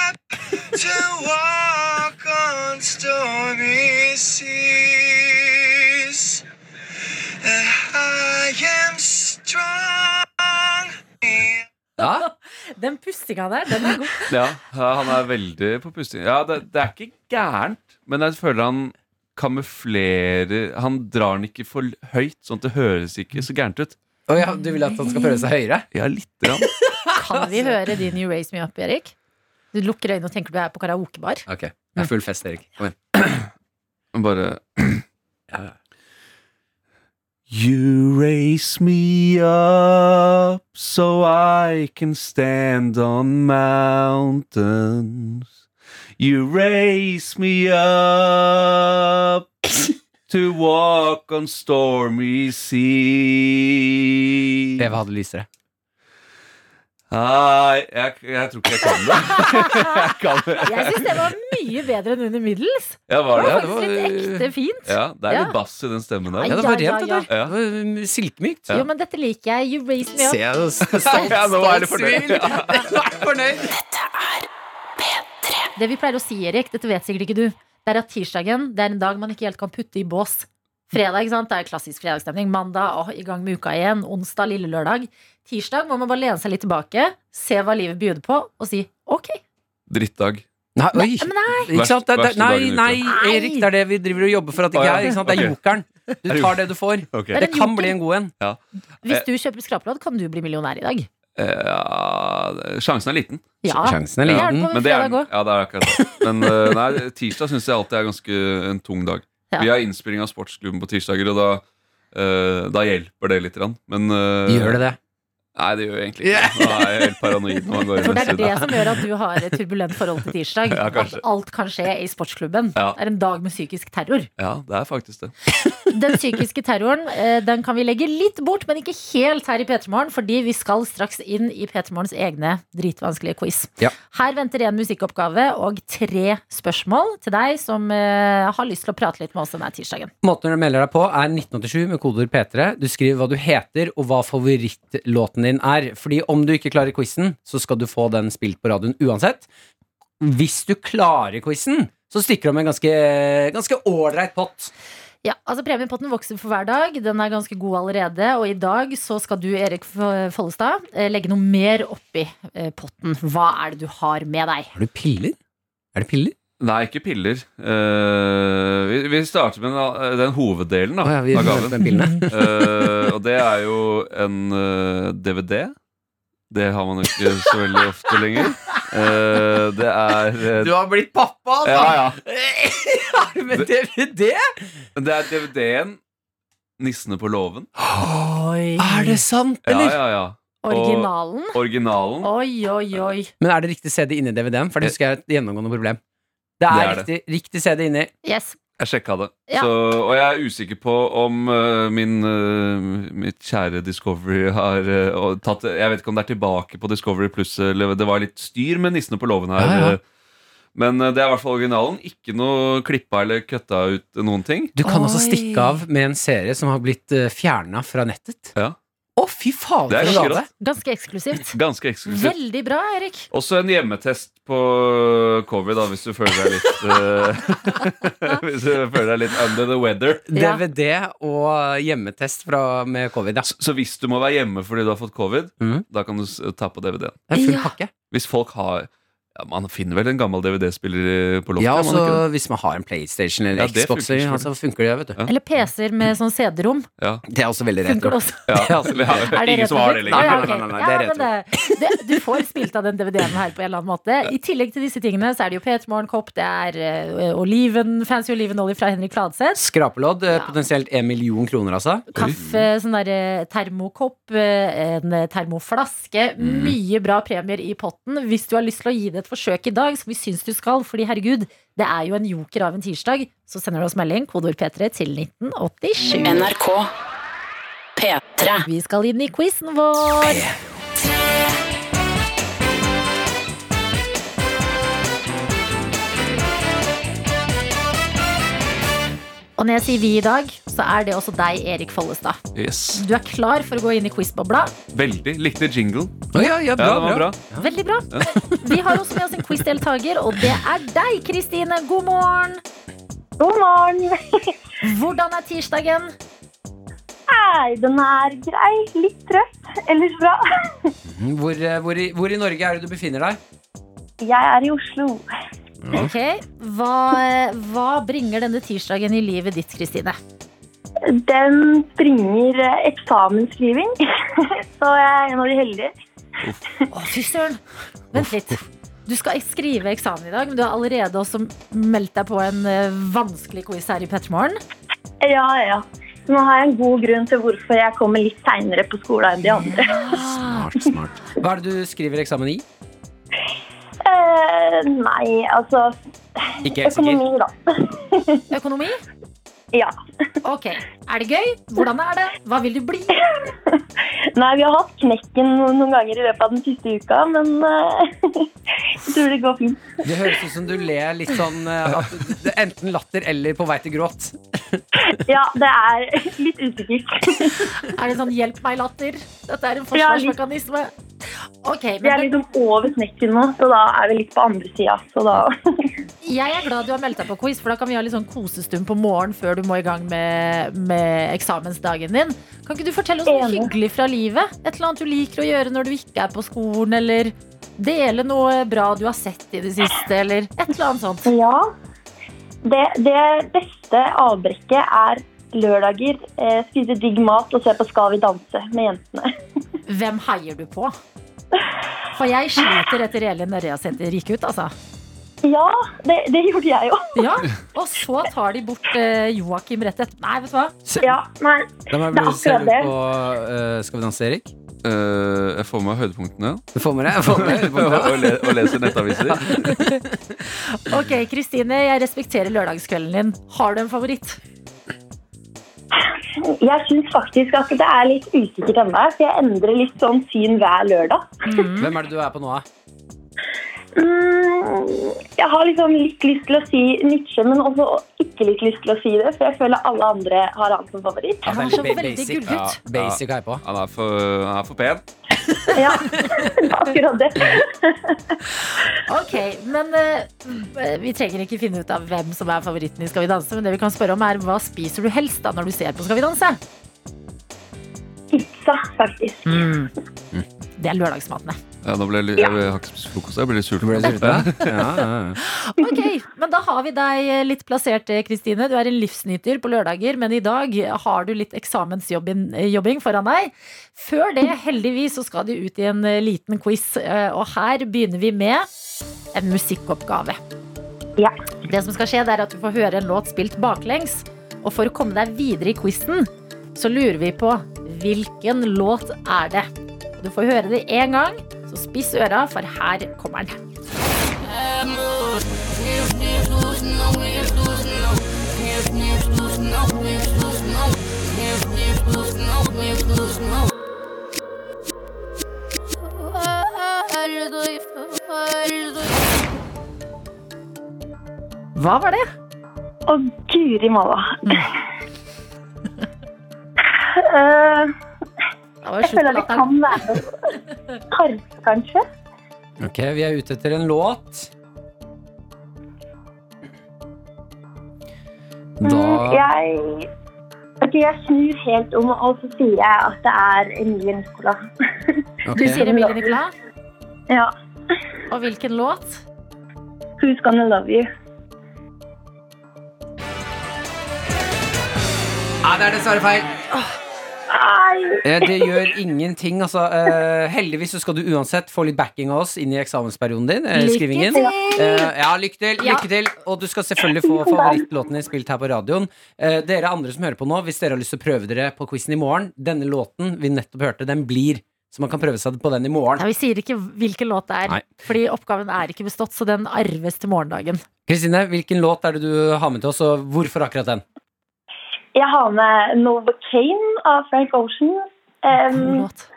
Speaker 6: up to walk on stormy seas. And I am strong.
Speaker 3: Ja,
Speaker 2: Den pustinga der, den er god.
Speaker 7: Ja, han er veldig på pusting. Ja, det, det er ikke gærent, men jeg føler han kamuflerer Han drar den ikke for høyt, sånn at det høres ikke så gærent ut.
Speaker 3: Å ja, Du vil at han skal prøve seg høyere?
Speaker 7: Ja, litt. Grann.
Speaker 2: Kan vi høre din You raise me up, Erik? Du lukker øynene og tenker du er på karaokebar.
Speaker 3: Ok, det er full fest, Erik. Kom igjen.
Speaker 7: Bare You raise me up so I can stand on mountains. You raise me up to walk on stormy seas.
Speaker 3: Eva hadde lysere.
Speaker 7: Nei, jeg, jeg tror ikke jeg kan det. jeg kan det.
Speaker 2: Jeg syns det var mye bedre enn under middels.
Speaker 7: Ja,
Speaker 2: Det
Speaker 7: var det?
Speaker 2: var
Speaker 3: det
Speaker 2: faktisk
Speaker 3: var-
Speaker 2: litt ekte fint.
Speaker 7: Ja, det er
Speaker 2: Ja.
Speaker 7: litt bass i den stemmen der.
Speaker 3: Ja, det var
Speaker 2: Ja, ja,
Speaker 3: rent, det
Speaker 2: ja.
Speaker 3: der. Det var mm, Silkemykt.
Speaker 2: Jo, men dette liker jeg. You raise me up.
Speaker 7: Ja, nå er det fornøyd.
Speaker 3: Svil. Nå er det fornøyd.
Speaker 2: Det vi pleier å si, Erik, dette vet sikkert ikke du, det er at tirsdagen det er en dag man ikke helt kan putte i bås. Fredag ikke sant? det er klassisk fredagsstemning. Mandag åh, i gang med uka igjen. Onsdag lille lørdag. Tirsdag må man bare lene seg litt tilbake, se hva livet byr på, og si ok.
Speaker 7: Drittdag.
Speaker 3: Nei, oi.
Speaker 2: Men nei,
Speaker 3: Ikke sant? Det, er- det,
Speaker 7: Verste- verste
Speaker 3: nei,
Speaker 7: dagen i uka.
Speaker 3: nei, Erik, det er det vi driver og jobber for at det ikke er.
Speaker 7: Å, ja.
Speaker 3: Ikke sant? Det er
Speaker 7: Ok.
Speaker 3: jokeren. Du tar det du får.
Speaker 7: Ok.
Speaker 2: Er
Speaker 3: Det
Speaker 2: det en
Speaker 3: kan
Speaker 2: joker?
Speaker 3: bli en god en.
Speaker 2: hvis du kjøper skrapelodd, kan du bli millionær i dag.
Speaker 7: Eh, sjansen er liten.
Speaker 2: Ja.
Speaker 3: Sjansen er
Speaker 2: Det
Speaker 3: liten.
Speaker 2: hjelper om
Speaker 7: Men det er, den.
Speaker 2: fredag òg.
Speaker 7: ja, det er akkurat det. Men eh, nei, tirsdag syns jeg alltid er ganske en tung dag.
Speaker 2: Ja.
Speaker 7: Vi har innspilling av Sportsklubben på tirsdager, og da, eh, da hjelper det litt. Grann. Men eh,
Speaker 3: Gjør det det?
Speaker 7: Nei, det gjør jeg egentlig ikke. Da er jeg helt paranoid når man går
Speaker 2: For
Speaker 7: inn
Speaker 2: det er
Speaker 7: neste
Speaker 2: det
Speaker 7: side.
Speaker 2: som gjør at du har et turbulent forhold til tirsdag.
Speaker 7: Ja,
Speaker 2: at
Speaker 7: kanskje.
Speaker 2: alt kan skje i sportsklubben.
Speaker 7: Ja.
Speaker 2: Det er en dag med psykisk terror.
Speaker 7: Ja, det er faktisk det.
Speaker 2: Den psykiske terroren eh, den kan vi legge litt bort, men ikke helt her i P3morgen, fordi vi skal straks inn i P3morgens egne dritvanskelige quiz.
Speaker 3: Ja.
Speaker 2: Her venter en musikkoppgave og tre spørsmål til deg som eh, har lyst til å prate litt med oss denne tirsdagen.
Speaker 3: Måten du melder deg på er 1987 med kodeord P3. Du skriver hva du heter og hva favorittlåten din er. Fordi om du ikke klarer quizen, så skal du få den spilt på radioen uansett. Hvis du klarer quizen, så stikker du om en ganske ganske ålreit pott.
Speaker 2: Ja, altså Premiepotten vokser for hver dag. Den er ganske god allerede. Og i dag så skal du, Erik F- Follestad, eh, legge noe mer oppi eh, potten. Hva er det du har med deg?
Speaker 3: Har du piller? Er det piller?
Speaker 7: Nei, ikke piller. Eh, vi, vi starter med den, eh, den hoveddelen da,
Speaker 3: Å ja, vi
Speaker 7: av gaven.
Speaker 3: med pillene.
Speaker 7: Eh, og det er jo en eh, DVD. Det har man jo ikke så veldig ofte lenger. Eh, det er eh,
Speaker 3: har blitt pappa, altså!
Speaker 7: ja, ja.
Speaker 3: Har du med DVD?
Speaker 7: Det er DVD-en 'Nissene på låven'.
Speaker 2: Oi.
Speaker 3: Er det sant,
Speaker 7: Ja,
Speaker 3: eller?
Speaker 7: ja, ja.
Speaker 2: Originalen?
Speaker 7: Originalen.
Speaker 2: Oi, oi, oi.
Speaker 3: Men er det riktig CD inni DVD-en? For det husker jeg er et gjennomgående problem. Eh. Det er,
Speaker 7: Det er
Speaker 3: riktig, riktig CD inni.
Speaker 2: Yes.
Speaker 7: Jeg sjekka det.
Speaker 2: Ja.
Speaker 7: Så, og jeg er usikker på om øh, min, øh, mitt kjære Discovery har øh, og tatt Jeg vet ikke om det er tilbake på Discovery pluss, eller det var litt styr med nissene på låven her. Eh,
Speaker 3: Ja, ja.
Speaker 7: Men øh, det er i hvert fall originalen. Ikke noe klippa eller kutta ut noen ting.
Speaker 3: Du kan altså
Speaker 2: Oi.
Speaker 3: stikke av med en serie som har blitt uh, fjerna fra nettet.
Speaker 7: Ja.
Speaker 3: Å, fy faen,
Speaker 7: Det er
Speaker 3: for en gave!
Speaker 7: rått.
Speaker 2: Ganske eksklusivt.
Speaker 7: Ganske eksklusivt.
Speaker 2: Veldig bra, Erik.
Speaker 7: Også en hjemmetest på øh, cover, da, hvis du føler deg litt øh, Hvis du føler deg litt under the weather.
Speaker 2: Ja.
Speaker 3: DVD og hjemmetest fra, med covid, ja.
Speaker 7: Så, så hvis du må være hjemme fordi du har fått covid,
Speaker 3: Mhm.
Speaker 7: da kan du s- ta på DVD-en.
Speaker 3: Det er full
Speaker 2: Ja.
Speaker 3: pakke.
Speaker 7: Hvis folk har ja, Man finner vel en gammel DVD-spiller på loftet?
Speaker 3: Ja,
Speaker 7: gjør man
Speaker 3: altså,
Speaker 7: ikke det?
Speaker 3: hvis man har en PlayStation eller
Speaker 7: Ja, det
Speaker 3: Xbox,
Speaker 7: funker
Speaker 3: eller,
Speaker 7: selvfølgelig.
Speaker 3: altså, funker det, vet du.
Speaker 7: Ja.
Speaker 2: Eller PC-er med sånn CD-rom.
Speaker 3: Det er også veldig
Speaker 2: Funker
Speaker 3: retro.
Speaker 2: det også?
Speaker 7: ja, eller,
Speaker 2: Er det
Speaker 7: Ingen som har det
Speaker 2: retro?
Speaker 7: lenger.
Speaker 2: Å, ja, ok.
Speaker 3: Nei, nei, nei, nei, det er
Speaker 2: Ja, men det, det, du får spilt av den DVD-en her på en eller annen måte. I tillegg til disse tingene så er det jo P3 Morgenkopp, det er eh, oliven, Fancy Olivenolje fra Henrik Fladseth.
Speaker 3: Skrapelodd, eh,
Speaker 2: Ja.
Speaker 3: potensielt en million kroner, altså.
Speaker 2: Kaffe, sånn der eh, termokopp, eh, en eh, termoflaske. Mye bra premier i potten. Hvis du har lyst til å gi det et forsøk i dag, som vi syns du skal, fordi herregud, det er jo en joker av en tirsdag, så sender du oss melding, kodeord P3, til 1987.
Speaker 1: NRK P3.
Speaker 2: Vi skal inn i quizen vår. Og når jeg sier vi i dag, så er det også deg, Erik Follestad.
Speaker 7: Yes.
Speaker 2: Du er klar for å gå inn i quizbobla.
Speaker 7: Veldig. Likte jinglen.
Speaker 3: Å, ja, ja,
Speaker 7: Ja,
Speaker 3: bra,
Speaker 7: den var bra.
Speaker 2: Veldig bra. Vi har også med oss en quizdeltaker, og det er deg, Kristine. God morgen.
Speaker 8: God morgen.
Speaker 2: Hvordan er tirsdagen?
Speaker 8: Hei, den er grei. Litt trøtt, ellers bra.
Speaker 3: Mm, Hvor, eh, hvor, i, hvor i Norge er det du befinner deg?
Speaker 8: Jeg er i Oslo.
Speaker 2: Ok, Hva, hva bringer denne tirsdagen i livet ditt, Kristine?
Speaker 8: Den bringer eh, eksamensskriving, så jeg er en av de heldige.
Speaker 2: Å, fy søren. Vent litt. Du skal skrive eksamen i dag, men du har allerede også meldt deg på en eh, vanskelig quiz her i Pettermorgen.
Speaker 8: Ja, ja. Så nå har jeg en god grunn til hvorfor jeg kommer litt seinere på skolen enn de andre. Ah.
Speaker 3: Smart, smart. Hva er det du skriver eksamen i?
Speaker 8: Eh, nei, altså
Speaker 3: Ikke helt sikker.
Speaker 8: Økonomi, da.
Speaker 2: Økonomi?
Speaker 8: Ja.
Speaker 2: Ok. Er det gøy? Hvordan er det? Hva vil du bli?
Speaker 8: Nei, vi har hatt knekken noen ganger i løpet av den siste uka, men eh, jeg tror det går fint.
Speaker 3: Det høres ut som du ler litt sånn eh, at det er enten latter eller på vei til gråt.
Speaker 8: Ja, det er litt usikkert.
Speaker 2: Er det sånn 'hjelp meg'-latter? Dette er en
Speaker 8: Ja, litt.
Speaker 2: forsvarsmekanisme. Ok,
Speaker 8: Vi er
Speaker 2: men
Speaker 8: liksom over snekken nå, så da er vi litt på andre sida. Så da
Speaker 2: Jeg er glad du har meldt deg på quiz, for da kan vi ha litt sånn kosestund på morgen før du må i gang med, med eksamensdagen din. Kan ikke du fortelle oss noe
Speaker 8: Enig.
Speaker 2: hyggelig fra livet? Et eller annet du liker å gjøre når du ikke er på skolen, eller dele noe bra du har sett i det siste, eller et eller annet sånt.
Speaker 8: Ja. Det, det beste avbrekket er lørdager, eh, spise digg mat og se på Skal vi danse med jentene.
Speaker 2: Hvem heier du på? For jeg sliter etter Elin Ørjasæter gikk ut, altså.
Speaker 8: Ja, det, det gjorde jeg jo.
Speaker 2: Ja, Og så tar de bort eh, Joakim rett etter. Nei, vet du hva?
Speaker 3: Se-
Speaker 8: Ja, nei,
Speaker 3: Da må jeg
Speaker 8: Det er
Speaker 3: bli ser du
Speaker 8: akkurat det.
Speaker 3: på eh, Skal vi danse, Erik?
Speaker 7: Eh, jeg får med meg høydepunktene
Speaker 3: Du får med deg? jeg Får med deg.
Speaker 7: og, le, og leser nettaviser.
Speaker 2: Ok, Kristine, jeg respekterer lørdagskvelden din. Har du en favoritt?
Speaker 8: Jeg syns faktisk at det er litt usikkert ennå, for jeg endrer litt sånn syn hver lørdag.
Speaker 2: Mm.
Speaker 3: Hvem er det du er på nå, da?
Speaker 8: Mm, jeg har liksom litt lyst til å si Nietzsche, men også ikke litt lyst til å si det, for jeg føler alle andre har han som favoritt.
Speaker 3: Ja, det
Speaker 2: Han
Speaker 3: er
Speaker 2: er så
Speaker 3: ba-
Speaker 2: veldig
Speaker 3: basic.
Speaker 2: gullgutt.
Speaker 3: Basic er jeg på.
Speaker 7: Han er for, han er for pen.
Speaker 8: Ja, akkurat det.
Speaker 2: Ok, men eh, Vi trenger ikke finne ut av hvem som er favoritten i Skal vi danse, men det vi kan spørre om er hva spiser du helst da når du ser på Skal vi danse?
Speaker 8: Pizza, faktisk.
Speaker 2: Det er lørdagsmatene.
Speaker 7: Ja, nå ble jeg, litt- jeg, jeg har ikke spist frokost, jeg blir litt sulten.
Speaker 3: Ja, ja, ja.
Speaker 2: Ok, men Da har vi deg eh, litt plassert, eh, Kristine. Du er en livsnyter på lørdager, men i dag har du litt eksamensjobbing eh, jobbing foran deg. Før det, heldigvis, så skal du ut i en eh, liten quiz, eh, og her begynner vi med en musikkoppgave.
Speaker 8: Ja.
Speaker 2: Det som skal skje, det er at du får høre en låt spilt baklengs, og for å komme deg videre i quizen, så lurer vi på hvilken låt er det? Og Du får høre det én gang, så spiss øra, for her kommer den. Hva var det?
Speaker 8: Og guri malla. Eh,
Speaker 2: Det var jo
Speaker 8: jeg
Speaker 2: slutt
Speaker 8: føler
Speaker 2: på
Speaker 8: det
Speaker 2: latteren.
Speaker 8: kan være Karp, kanskje?
Speaker 3: Ok, vi er ute etter en låt.
Speaker 8: Mm,
Speaker 3: Da
Speaker 8: jeg, ok, jeg snur helt om, og så sier jeg at det er Emilie Nicola.
Speaker 2: Du
Speaker 3: ok.
Speaker 2: sier Emilie Nicolas.
Speaker 8: ja.
Speaker 2: Og hvilken låt?
Speaker 8: Who's gonna love you?
Speaker 3: Ja, det er dessverre feil.
Speaker 8: Nei,
Speaker 3: Eh, Det gjør ingenting, altså. Eh, heldigvis så skal du uansett få litt backing av oss inn i eksamensperioden din. Eh,
Speaker 2: Lykke
Speaker 3: skrivingen.
Speaker 2: til!
Speaker 3: Eh, ja, lykke til,
Speaker 2: Ja.
Speaker 3: lykke til! Og du skal selvfølgelig få favorittlåten din spilt her på radioen. Eh, dere andre som hører på nå, hvis dere har lyst til å prøve dere på quizen i morgen, denne låten vi nettopp hørte, den blir. Så man kan prøve seg på den i morgen.
Speaker 2: Nei, Vi sier ikke hvilken låt det er,
Speaker 3: Nei.
Speaker 2: fordi oppgaven er ikke bestått, så den arves til morgendagen.
Speaker 3: Kristine, hvilken låt er det du har med til oss, og hvorfor akkurat den?
Speaker 8: jeg har med Novocaine av Frank Ocean.
Speaker 2: God
Speaker 3: Mm.
Speaker 8: Um,
Speaker 2: låt.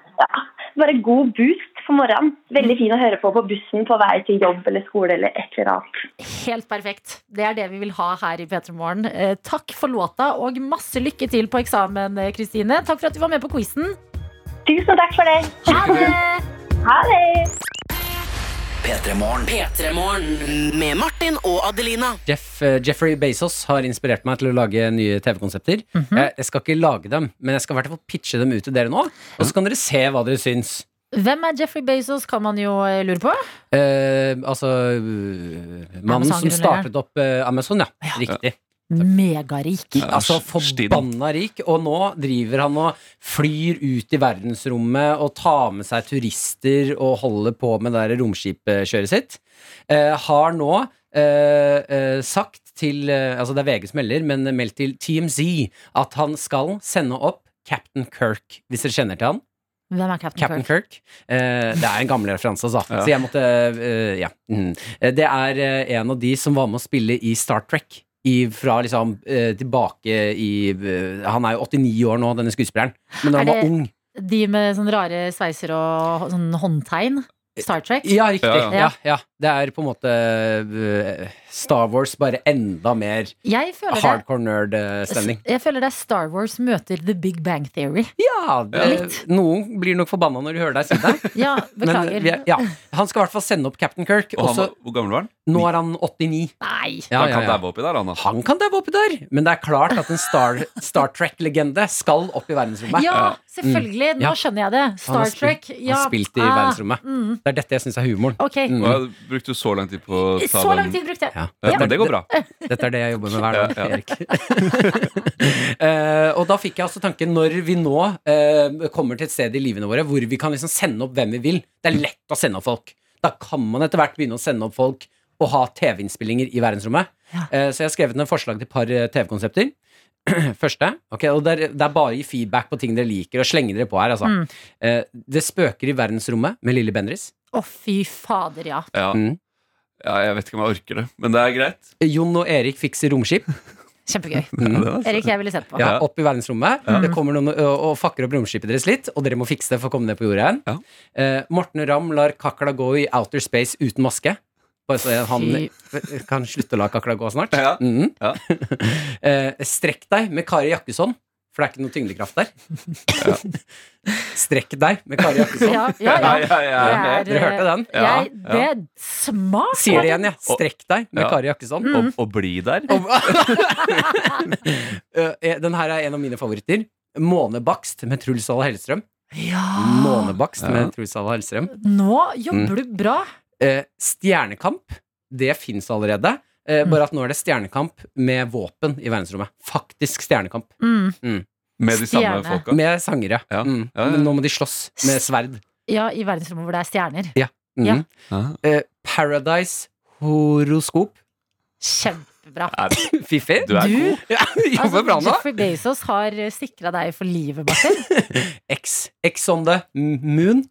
Speaker 8: bare god boost for morgenen. Veldig fin å høre på på bussen på vei til jobb eller skole eller et eller annet.
Speaker 2: Helt perfekt. Det er det vi vil ha her i P3 Morgen. Eh, takk for låta, og masse lykke til på eksamen, eh, Kristine. Takk for at du var med på quizen.
Speaker 8: Tusen takk for det.
Speaker 2: Ha det!
Speaker 8: Ha det!
Speaker 4: P3morgen.
Speaker 1: P3morgen med Martin og Adelina.
Speaker 3: Jeff, eh, Jeffrey Bezos har inspirert meg til å lage nye TV-konsepter.
Speaker 2: Mhm.
Speaker 3: jeg, jeg skal ikke lage dem, men jeg skal i hvert fall pitche dem ut til dere nå. Og så kan dere se hva dere syns.
Speaker 2: Hvem er Jeffrey Bezos, kan man jo eh, lure på.
Speaker 3: Eh, altså eh, Mannen som
Speaker 2: Amazon-grunnleggeren.
Speaker 3: startet opp eh, Amazon, ja. Riktig.
Speaker 2: Megarik.
Speaker 7: Ja,
Speaker 3: Altså
Speaker 7: stinn.
Speaker 3: forbanna rik. Og nå driver han og flyr ut i verdensrommet og tar med seg turister og holder på med det der romskipkjøret sitt. Eh, har nå eh, eh, sagt til eh, Altså det er VG som melder, men meldt til TMZ at han skal sende opp Captain Kirk, hvis dere kjenner til han.
Speaker 2: Hvem er Captain,
Speaker 3: Captain
Speaker 2: Kirk?
Speaker 3: Kirk. Eh, det er en gammel referanse, altså.
Speaker 7: Ja.
Speaker 3: Så jeg måtte eh, Ja. Mm. Eh, Det er eh, en av de som var med å spille i Star Trek. I, fra liksom eh, tilbake i eh, Han er jo 89 år nå, denne skuespilleren. Men da
Speaker 2: Er
Speaker 3: han var
Speaker 2: det-
Speaker 3: ung
Speaker 2: De med sånne rare sveiser og hå- sånn håndtegn. Star Trek?
Speaker 3: Ja, riktig.
Speaker 2: Ja,
Speaker 3: Ja,
Speaker 2: ja.
Speaker 3: ja. Det er på en måte eh, Star Wars, bare enda mer
Speaker 2: Jeg føler det-
Speaker 3: hardcore nerd-stemning.
Speaker 2: Jeg føler det er Star Wars møter The Big Bang Theory.
Speaker 3: Ja, det,
Speaker 2: Litt.
Speaker 3: noen blir nok forbanna når de hører deg si det.
Speaker 2: Ja,
Speaker 3: Men eh,
Speaker 2: beklager.
Speaker 3: vi er, ja. Han skal i hvert fall sende opp Captain Kirk.
Speaker 7: Og han,
Speaker 3: også,
Speaker 7: var- hvor gammel var han?
Speaker 3: nå er han 89.
Speaker 2: Nei!
Speaker 3: Ja,
Speaker 7: han
Speaker 3: ja,
Speaker 7: kan
Speaker 3: ja.
Speaker 7: dabbe oppi der, han. altså. da.
Speaker 3: Han kan dabbe oppi der, men det er klart at en Star, Star Trek-legende skal opp i verdensrommet.
Speaker 2: Ja, selvfølgelig!
Speaker 3: Mm.
Speaker 2: Nå
Speaker 3: Ja.
Speaker 2: skjønner jeg det.
Speaker 3: han har
Speaker 2: Star
Speaker 3: spilt-
Speaker 2: Trek.
Speaker 3: Han
Speaker 2: ja.
Speaker 3: har spilt i
Speaker 2: Ah,
Speaker 3: verdensrommet.
Speaker 2: mm.
Speaker 3: Det er dette jeg syns er humoren.
Speaker 2: Ok.
Speaker 3: Mm.
Speaker 7: Hva, Brukte du så lang tid på å ta
Speaker 2: Så lang
Speaker 7: den?
Speaker 2: tid brukte jeg.
Speaker 3: Ja.
Speaker 7: Ja, men det går bra.
Speaker 3: Dette er det jeg jobber med hver dag,
Speaker 7: Ja, ja.
Speaker 3: Erik. Eh, og da fikk jeg også tanken når vi nå eh, kommer til et sted i livene våre hvor vi kan liksom sende opp hvem vi vil. Det er lett å sende opp folk. Da kan man etter hvert begynne å sende opp folk og ha TV-innspillinger i verdensrommet. Eh, så jeg har skrevet ned forslag til et par eh, TV-konsepter. Første. ok, og det er, det er bare å gi feedback på ting dere liker, og slenge dere på her. Altså.
Speaker 2: Mm.
Speaker 3: Eh, det spøker i verdensrommet med Lille Bendriss.
Speaker 2: Å, fy fader, ja.
Speaker 7: Ja.
Speaker 3: Mm.
Speaker 7: ja, Jeg vet ikke om jeg orker det, men det er greit.
Speaker 3: Jon og Erik fikser romskip.
Speaker 2: Kjempegøy.
Speaker 3: Mm.
Speaker 2: Erik, jeg ville sett på.
Speaker 3: Ja, opp i verdensrommet. Det kommer noen og, og fakker opp romskipet deres litt, og dere må fikse det for å komme ned på jorda igjen.
Speaker 7: Ja.
Speaker 3: Eh, Morten Ramm lar kakla gå i outer space uten maske. Bare så han kan slutte å la kakla gå snart.
Speaker 7: Ja.
Speaker 3: Mhm.
Speaker 7: Ja.
Speaker 3: Eh, strekk deg med Kari Jakkesson, for det er ikke noe tyngdekraft der. strekk deg med Kari Jakkesson.
Speaker 2: Ja, ja, ja.
Speaker 7: ja, ja, ja.
Speaker 2: Det er, eh,
Speaker 3: Dere hørte den?
Speaker 2: Jeg,
Speaker 7: Ja,
Speaker 2: det
Speaker 7: ja.
Speaker 2: er smart!
Speaker 3: Sier det igjen, jeg.
Speaker 7: Og-
Speaker 3: Strekk deg med
Speaker 7: Ja. Mm.
Speaker 3: Kari Jakkesson.
Speaker 2: Mm.
Speaker 7: Og, og bli der.
Speaker 3: Eh, den her er en av mine favoritter. Månebakst med Truls Alle Hellstrøm.
Speaker 2: Ja.
Speaker 3: Månebakst
Speaker 7: Ah. Ja.
Speaker 3: med Truls Alle Hellstrøm.
Speaker 2: Nå jobber du bra.
Speaker 3: Eh, Stjernekamp, det fins allerede. Eh, bare at nå er det stjernekamp med våpen i verdensrommet. Faktisk stjernekamp.
Speaker 2: Mm.
Speaker 7: Med de samme
Speaker 2: Stjerne.
Speaker 7: folka.
Speaker 3: Med sangere.
Speaker 7: Ja.
Speaker 3: Mm.
Speaker 7: Ja, ja, ja.
Speaker 3: Men nå må de slåss med sverd.
Speaker 2: Ja, i verdensrommet hvor det er stjerner.
Speaker 3: Mm.
Speaker 2: Ja.
Speaker 7: Ja.
Speaker 3: Eh, Paradise horoskop.
Speaker 2: Kjempebra.
Speaker 3: Fiffi.
Speaker 7: Du er
Speaker 2: Du-
Speaker 3: Ja,
Speaker 2: Altså,
Speaker 3: Jobber bra nå.
Speaker 2: Jeffrey Bezos har sikra deg for livet, Martin.
Speaker 3: X, X on the moon.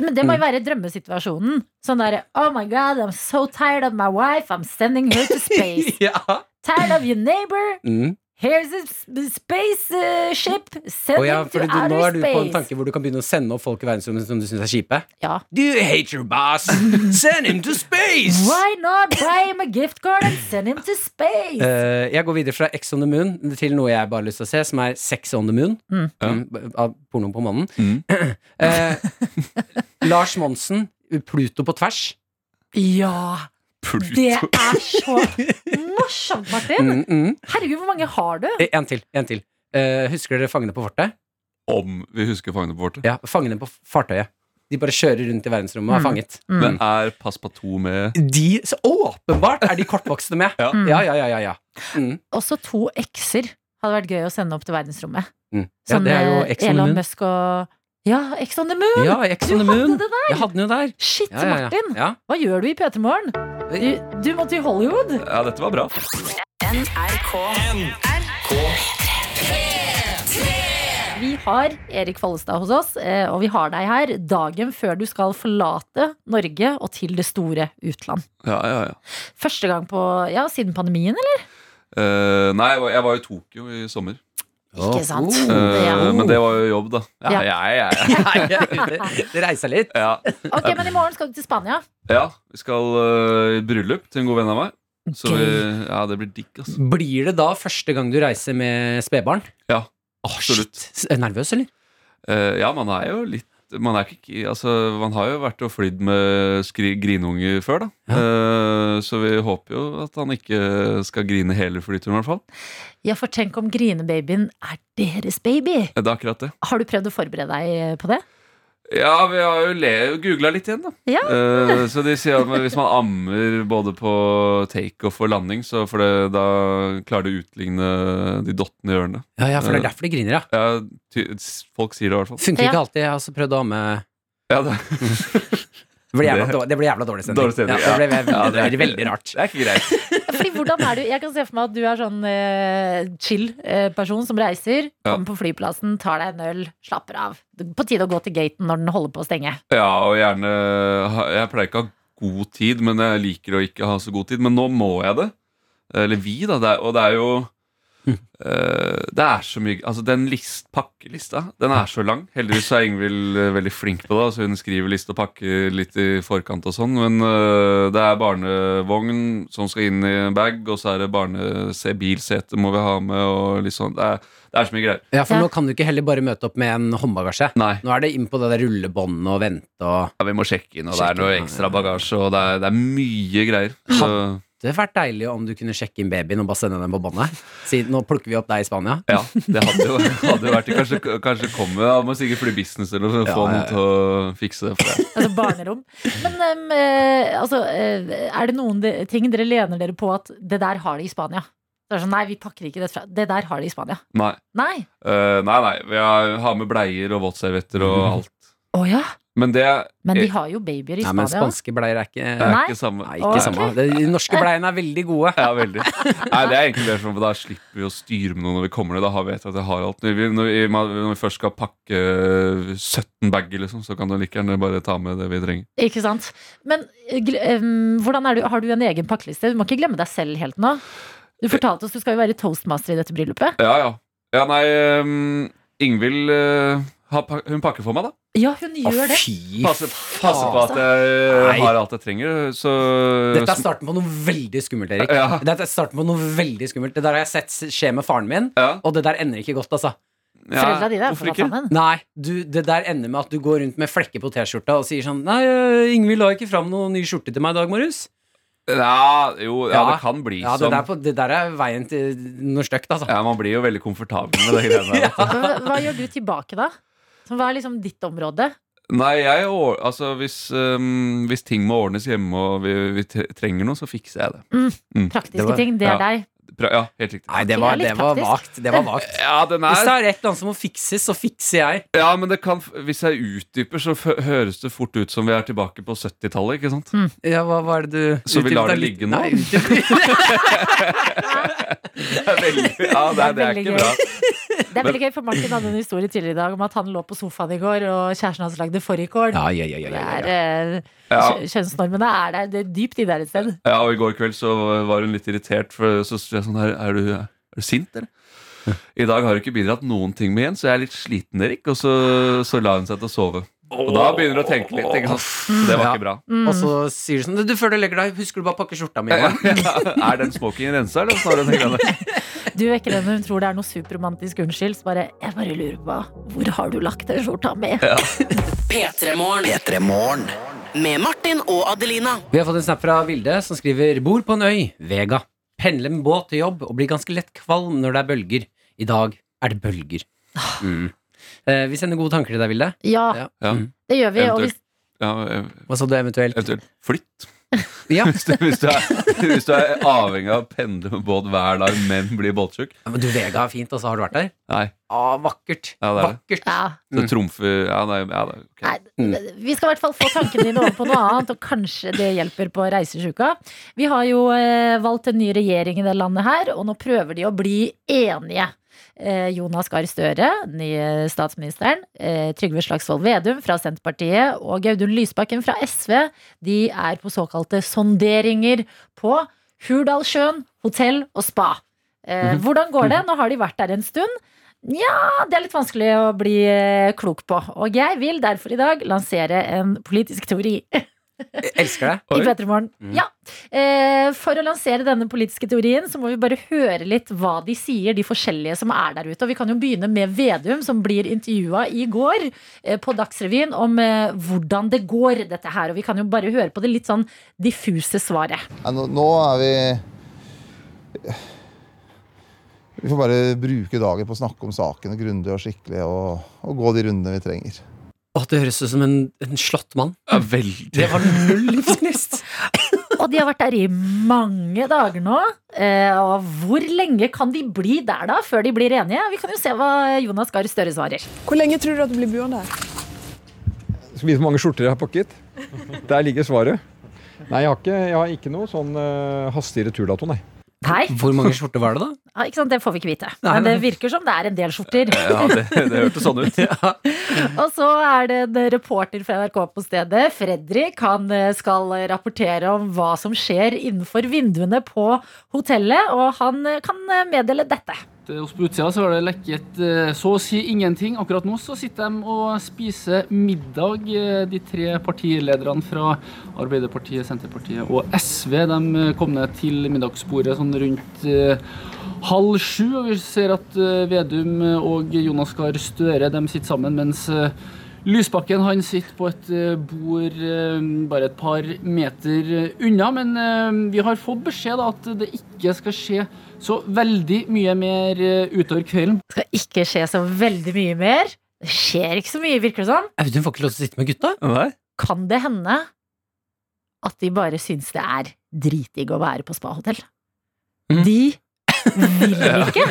Speaker 2: Men det må jo
Speaker 3: Mm.
Speaker 2: være drømmesituasjonen. Sånn derre Oh my God, I'm so tired of my wife. I'm sending her to space.
Speaker 3: ja.
Speaker 2: Tired of your neighbor.
Speaker 3: Mm.
Speaker 2: Here's a s- space uh, ship. Send
Speaker 3: Og ja,
Speaker 2: him to
Speaker 3: fordi du, nå er
Speaker 2: outer
Speaker 3: du på en
Speaker 2: space.
Speaker 3: tanke hvor du kan begynne å sende opp folk i verdensrommet som du syns er kjipe.
Speaker 2: Ja.
Speaker 3: Do you hate your boss? Send him to space!
Speaker 2: Why not buy him a gift card and send him to space?
Speaker 3: Eh, jeg går videre fra X on the Moon til noe jeg bare har lyst til å se, som er Sex on the Moon.
Speaker 2: Mm.
Speaker 3: Mm, b- Av porno på mannen. Eh, Lars Monsen, Pluto på tvers.
Speaker 2: ja. Det er så morsomt, Martin.
Speaker 3: Mm, mm.
Speaker 2: Herregud, hvor mange har du?
Speaker 3: Eh, En til. En til. Eh, husker dere Fangene på fortet?
Speaker 7: Om vi husker fangene på fortet.
Speaker 3: Ja, Fangene på fartøyet. De bare kjører rundt i verdensrommet og er
Speaker 2: Mm.
Speaker 3: fanget.
Speaker 7: Men er Passepartout med
Speaker 3: De, så åpenbart er de kortvokste med!
Speaker 7: Ja.
Speaker 3: ja, ja, ja, ja, ja. Mm.
Speaker 2: Også to ekser hadde vært gøy å sende opp til verdensrommet.
Speaker 3: Mm. ja det er jo
Speaker 2: eh,
Speaker 3: X on the
Speaker 2: Elon
Speaker 3: Moon.
Speaker 2: Musk og Ja, Ex on the Moon!
Speaker 3: Ja, X
Speaker 2: Du
Speaker 3: on the Moon.
Speaker 2: hadde det der!
Speaker 3: Jeg hadde den jo der.
Speaker 2: Shit,
Speaker 3: Ja, ja, ja.
Speaker 2: Martin!
Speaker 3: ja.
Speaker 2: Hva gjør du i P3 Morgen? Du, du må til Hollywood!
Speaker 7: Ja, dette var bra.
Speaker 2: Vi har Erik Follestad hos oss, eh, og vi har deg her dagen før du skal forlate Norge og til det store utland.
Speaker 7: Ja, ja, ja.
Speaker 2: Første gang på Ja, siden pandemien, eller?
Speaker 7: Eh, nei, jeg var, jeg var i Tokyo i sommer.
Speaker 2: Ikke sant?
Speaker 3: Oh.
Speaker 7: Eh,
Speaker 2: Ja.
Speaker 7: Men det var jo jobb, da. Ja,
Speaker 2: Ja.
Speaker 7: ja, ja, ja.
Speaker 3: Nei, det- det reiser litt.
Speaker 7: ja.
Speaker 2: Ok, men i morgen skal du til Spania.
Speaker 7: ja vi skal eh, i bryllup til en god venn av meg. Så vi, ja, det blir digg, altså.
Speaker 3: Blir det da første gang du reiser med spedbarn?
Speaker 7: Ja,
Speaker 3: Åh,
Speaker 7: absolutt.
Speaker 3: shit. Er du Nervøs, eller?
Speaker 7: Eh, ja, man er jo litt man, er ikke, altså, man har jo vært og flydd med skri, grinunger før, da. Eh, så vi håper jo at han ikke skal grine hele flyturen, i hvert fall.
Speaker 2: Ja, for tenk om grinebabyen er deres baby!
Speaker 7: Eh, Det er akkurat det.
Speaker 2: Har du prøvd å forberede deg eh, på det?
Speaker 7: Ja, vi har jo le- googla litt igjen, da.
Speaker 2: Ja.
Speaker 7: Eh, så de sier at hvis man ammer både på takeoff og landing, så for det, da klarer det å utligne de dottene i ørene.
Speaker 3: Ja, ja, for det er derfor de griner, ja.
Speaker 7: Ja, ty s- folk sier det i hvert fall.
Speaker 3: Funker
Speaker 2: Ja.
Speaker 3: ikke alltid. Jeg har også prøvd å ha med
Speaker 7: Ja, det,
Speaker 3: det ble, jævla
Speaker 7: Det-
Speaker 3: dårlig, det ble jævla dårlig stemning.
Speaker 7: Dårlig stemning,
Speaker 3: Ja, det ble veldig,
Speaker 7: Ja, det er-
Speaker 3: veldig, veldig rart.
Speaker 7: det er ikke greit.
Speaker 2: Fordi hvordan er du? Jeg kan se for meg at du er sånn eh, chill eh, person som reiser,
Speaker 7: Ja.
Speaker 2: kommer på flyplassen, tar deg en øl, slapper av. På tide å gå til gaten når den holder på å stenge.
Speaker 7: Ja, og gjerne ha- Jeg pleier ikke å ha god tid, men jeg liker å ikke ha så god tid. Men nå må jeg det. Eller vi, da. Det er, og det er jo Eh, det er så mye Altså, den list, pakkelista, den er så lang. Heldigvis er Ingvild eh, veldig flink på det. Altså hun skriver liste og pakker litt i forkant og sånn. Men eh, det er barnevogn som skal inn i en bag, og så er det barne se- bilsete må vi ha med, og litt sånn. Det er, det er så mye greier.
Speaker 3: Ja, for nå kan du ikke heller bare møte opp med en håndbagasje.
Speaker 7: Nei.
Speaker 3: Nå er det inn på det der rullebåndet og vente og
Speaker 7: Ja, vi må sjekke inn, og det
Speaker 3: Sjekke
Speaker 7: er noe
Speaker 3: inn, ja.
Speaker 7: ekstra bagasje, og det er, det er mye greier. Så,
Speaker 3: Det hadde vært deilig om du kunne sjekke inn babyen og bare sende den på båndet. Si, nå plukker vi opp deg i Spania.
Speaker 7: ja, det hadde jo hadde jo vært det. Kanskje, kanskje komme da må sikkert fly business eller noe, for å få
Speaker 3: Ja, ja,
Speaker 7: noen til å fikse det. For deg.
Speaker 2: Altså barnerom. Men em, eh, altså, eh, er det noen de, ting dere lener dere på at det der har de i Spania? Det er sånn, Nei, vi pakker ikke det fra. Det der har de i Spania.
Speaker 7: Nei.
Speaker 2: Nei.
Speaker 7: Eh, nei, nei. Vi har, har med bleier og våtservietter og
Speaker 3: Mhm.
Speaker 7: alt.
Speaker 2: Å ja.
Speaker 7: Men det er
Speaker 2: Men de har jo babyer i
Speaker 3: Eh, Nei, men
Speaker 2: Spania.
Speaker 3: spanske bleier er ikke
Speaker 7: er
Speaker 2: Nei.
Speaker 7: ikke samme.
Speaker 3: Nei,
Speaker 2: Ok.
Speaker 3: ikke samme. De de norske bleiene er veldig gode.
Speaker 7: Ja, veldig. Nei, det er egentlig mer sånn, for Da slipper vi å styre med noe når vi kommer ned. Da har vi et at jeg har alt. Når vi, når vi, når vi først skal pakke 17 bager, liksom, så kan du like gjerne bare ta med det vi trenger.
Speaker 2: Ikke sant? Men eh, gle- em, hvordan er du, har du en egen pakkeliste? Du må ikke glemme deg selv helt nå.
Speaker 3: Eh,
Speaker 2: Du fortalte oss du skal jo være toastmaster i dette bryllupet.
Speaker 7: Ja, ja. ja nei, um, Ingvild eh, har pak- Hun pakker for meg, da.
Speaker 2: Ja, hun
Speaker 3: Å,
Speaker 2: gjør det.
Speaker 3: fy
Speaker 7: Passer, passer på
Speaker 2: altså.
Speaker 7: at jeg eh,
Speaker 3: Nei.
Speaker 7: har alt jeg trenger. Så
Speaker 3: Dette er starten på noe veldig skummelt, Erik.
Speaker 7: Ja.
Speaker 3: Dette er starten på noe veldig skummelt Det der har jeg sett skje med faren min,
Speaker 7: ja,
Speaker 3: og det der ender ikke godt, altså.
Speaker 7: ja,
Speaker 2: Foreldra dine er
Speaker 7: hvorfor
Speaker 2: for
Speaker 7: ikke?
Speaker 2: faen en.
Speaker 3: Nei, du, det der ender med at du går rundt med flekker på T-skjorta og sier sånn Nei, eh, Ingvild la ikke fram noen ny skjorte til meg i dag morges.
Speaker 7: Ja, jo, ja,
Speaker 3: Ja.
Speaker 7: det kan bli
Speaker 3: Ja, det
Speaker 7: sånn.
Speaker 3: der, på, det der er veien til noe stygt, altså.
Speaker 7: Ja, Man blir jo veldig komfortabel med det greiene der.
Speaker 2: Men Hva, hva gjør du tilbake da? Så Hva er liksom ditt område?
Speaker 7: Nei, jeg or altså, hvis, øhm, hvis ting må ordnes hjemme og vi, vi tre- trenger noe, så fikser jeg det.
Speaker 2: Praktiske
Speaker 3: Det var-
Speaker 2: ting, det er
Speaker 7: ja.
Speaker 2: deg.
Speaker 7: Pra ja, helt riktig.
Speaker 3: Nei, det
Speaker 2: Det er
Speaker 3: var,
Speaker 2: litt
Speaker 3: det var
Speaker 2: taktisk.
Speaker 3: vagt. Det var vagt.
Speaker 7: Ja, den
Speaker 3: Hvis det
Speaker 7: er
Speaker 3: er et eller annet som må fikses, så fikser jeg.
Speaker 7: Ja, men det kan, f- hvis jeg utdyper, så f høres det fort ut som vi er tilbake på 70-tallet, ikke sant?
Speaker 3: Ja, hva, hva er det du
Speaker 7: Så vi
Speaker 3: utdyp
Speaker 7: lar det
Speaker 3: deg litt-
Speaker 7: ligge nå?
Speaker 3: Nei, utdyp-
Speaker 7: Det er veldig, ja, det, er- det er
Speaker 2: veldig
Speaker 7: ikke
Speaker 2: gøy.
Speaker 7: bra.
Speaker 2: Det er veldig gøy, for Martin hadde en historie tidligere i dag om at han lå på sofaen i går, og kjæresten hans lagde fårikål.
Speaker 3: ja, ja, ja, ja,
Speaker 2: Det
Speaker 3: ja,
Speaker 2: er
Speaker 3: ja.
Speaker 2: eh,
Speaker 7: Ja.
Speaker 2: kjø- Kjønnsnormene er der. Det er dypt i der et sted.
Speaker 7: Ja, og i går kveld så var hun litt irritert, for så sa jeg sånn her Er du, er du sint, eller? I dag har du ikke bidratt noen ting med igjen, så jeg er litt sliten, Erik. Og så, så la hun seg til å sove. Og da begynner du å tenke litt. Ikke sant? Det var
Speaker 3: Ja.
Speaker 7: ikke bra.
Speaker 3: Og så sier du sånn Du, før du legger deg, husker du bare å pakke skjorta mi? i morgen?»
Speaker 7: er den smokingen rensa, eller snarere den greiene?
Speaker 2: Du vekker henne, hun tror det er noe superromantisk unnskyld, så bare Jeg bare lurer på hvor har du lagt den skjorta mi?
Speaker 1: P3morgen.
Speaker 4: P3 Morgen.
Speaker 1: Med Martin og Adelina.
Speaker 3: Vi har fått en snap fra Vilde som skriver Bor på en øy, Vega. Pendler med båt til jobb og blir ganske lett kvalm når det er bølger. I dag er det bølger. Mm. Eh, vi sender gode tanker til deg, Vilde.
Speaker 2: Ja,
Speaker 3: Ja.
Speaker 7: Ja.
Speaker 3: Mm.
Speaker 2: det gjør vi. Og hvis,
Speaker 7: Ja, ev-
Speaker 3: Hva sa du eventuelt?
Speaker 7: eventuelt flytt.
Speaker 3: Ja.
Speaker 7: Hvis du, hvis, du er, hvis du er avhengig av å pendle med båt hver dag, men blir båtsjuk.
Speaker 3: Ja, Men du, Vega er fint, altså. Har du vært der?
Speaker 7: Nei,
Speaker 3: Ah, vakkert.
Speaker 7: Ja, det er
Speaker 3: vakkert.
Speaker 2: ja,
Speaker 3: Mm.
Speaker 7: så trumfer Ja, nei, ja, det er ok.
Speaker 2: nei, vi skal i hvert fall få tankene dine over på noe annet, og kanskje det hjelper på reisesjuka. Vi har jo eh, valgt en ny regjering i det landet her, og nå prøver de å bli enige. Eh, Jonas Gahr Støre, nye statsministeren, eh, Trygve Slagsvold Vedum fra Senterpartiet og Gaudun Lysbakken fra SV, de er på såkalte sonderinger på Hurdalssjøen hotell og spa. Eh, hvordan går det? Nå har de vært der en stund. Nja, det er litt vanskelig å bli eh, klok på. Og jeg vil derfor i dag lansere en politisk teori.
Speaker 3: Jeg elsker det.
Speaker 2: I Petremorgen.
Speaker 3: Mm.
Speaker 2: Ja. Eh, for å lansere denne politiske teorien, så må vi bare høre litt hva de sier, de forskjellige som er der ute. Og vi kan jo begynne med Vedum, som blir intervjua i går eh, på Dagsrevyen om eh, hvordan det går, dette her. Og vi kan jo bare høre på det litt sånn diffuse svaret.
Speaker 11: Ja, nå, nå er vi Vi får bare bruke dagen på å snakke om sakene grundig og skikkelig og, og gå de rundene vi trenger.
Speaker 3: Å, det høres ut som en, en slått mann.
Speaker 7: Ja, veldig.
Speaker 3: Det var null livsgnist.
Speaker 2: Og de har vært der i mange dager nå. Eh, og hvor lenge kan de bli der, da, før de blir enige? Vi kan jo se hva Jonas Gahr Støre svarer.
Speaker 12: Hvor lenge tror du at det blir buende?
Speaker 13: Jeg skal vise hvor mange skjorter jeg har pakket. Der ligger svaret. Nei, jeg har ikke, jeg har ikke noe sånn eh, hastig returdato, nei.
Speaker 2: Nei,
Speaker 3: Hvor mange skjorter var det, da?
Speaker 2: ja, ikke sant? det får vi ikke vite.
Speaker 3: Nei,
Speaker 2: Men det
Speaker 3: nei.
Speaker 2: virker som det er en del skjorter.
Speaker 7: Ja, det, det hørtes sånn ut.
Speaker 2: Og så er det en reporter fra NRK på stedet. Fredrik han eh, skal rapportere om hva som skjer innenfor vinduene på hotellet, og han kan eh, meddele dette.
Speaker 12: ut, eh, også på utsida så har det lekket eh, så å si ingenting. Akkurat nå så sitter de og spiser middag, eh, de tre partilederne fra Arbeiderpartiet, Senterpartiet og SV. De eh, kom ned til middagsbordet sånn rundt eh, halv sju, og vi ser at eh, Vedum og Jonas Gahr Støre de sitter sammen, mens eh, Lysbakken han sitter på et eh, bord eh, bare et par meter eh, unna, men eh, vi har fått beskjed da, at det ikke skal skje så veldig mye mer eh, utover kvelden.
Speaker 2: Det skal ikke skje så veldig mye mer. Det skjer ikke så mye, virker det som.
Speaker 3: Audun får ikke lov til å sitte med gutta. Nei.
Speaker 2: Kan det hende at de bare syns det er dritdigg å være på spahotell? De vil ikke!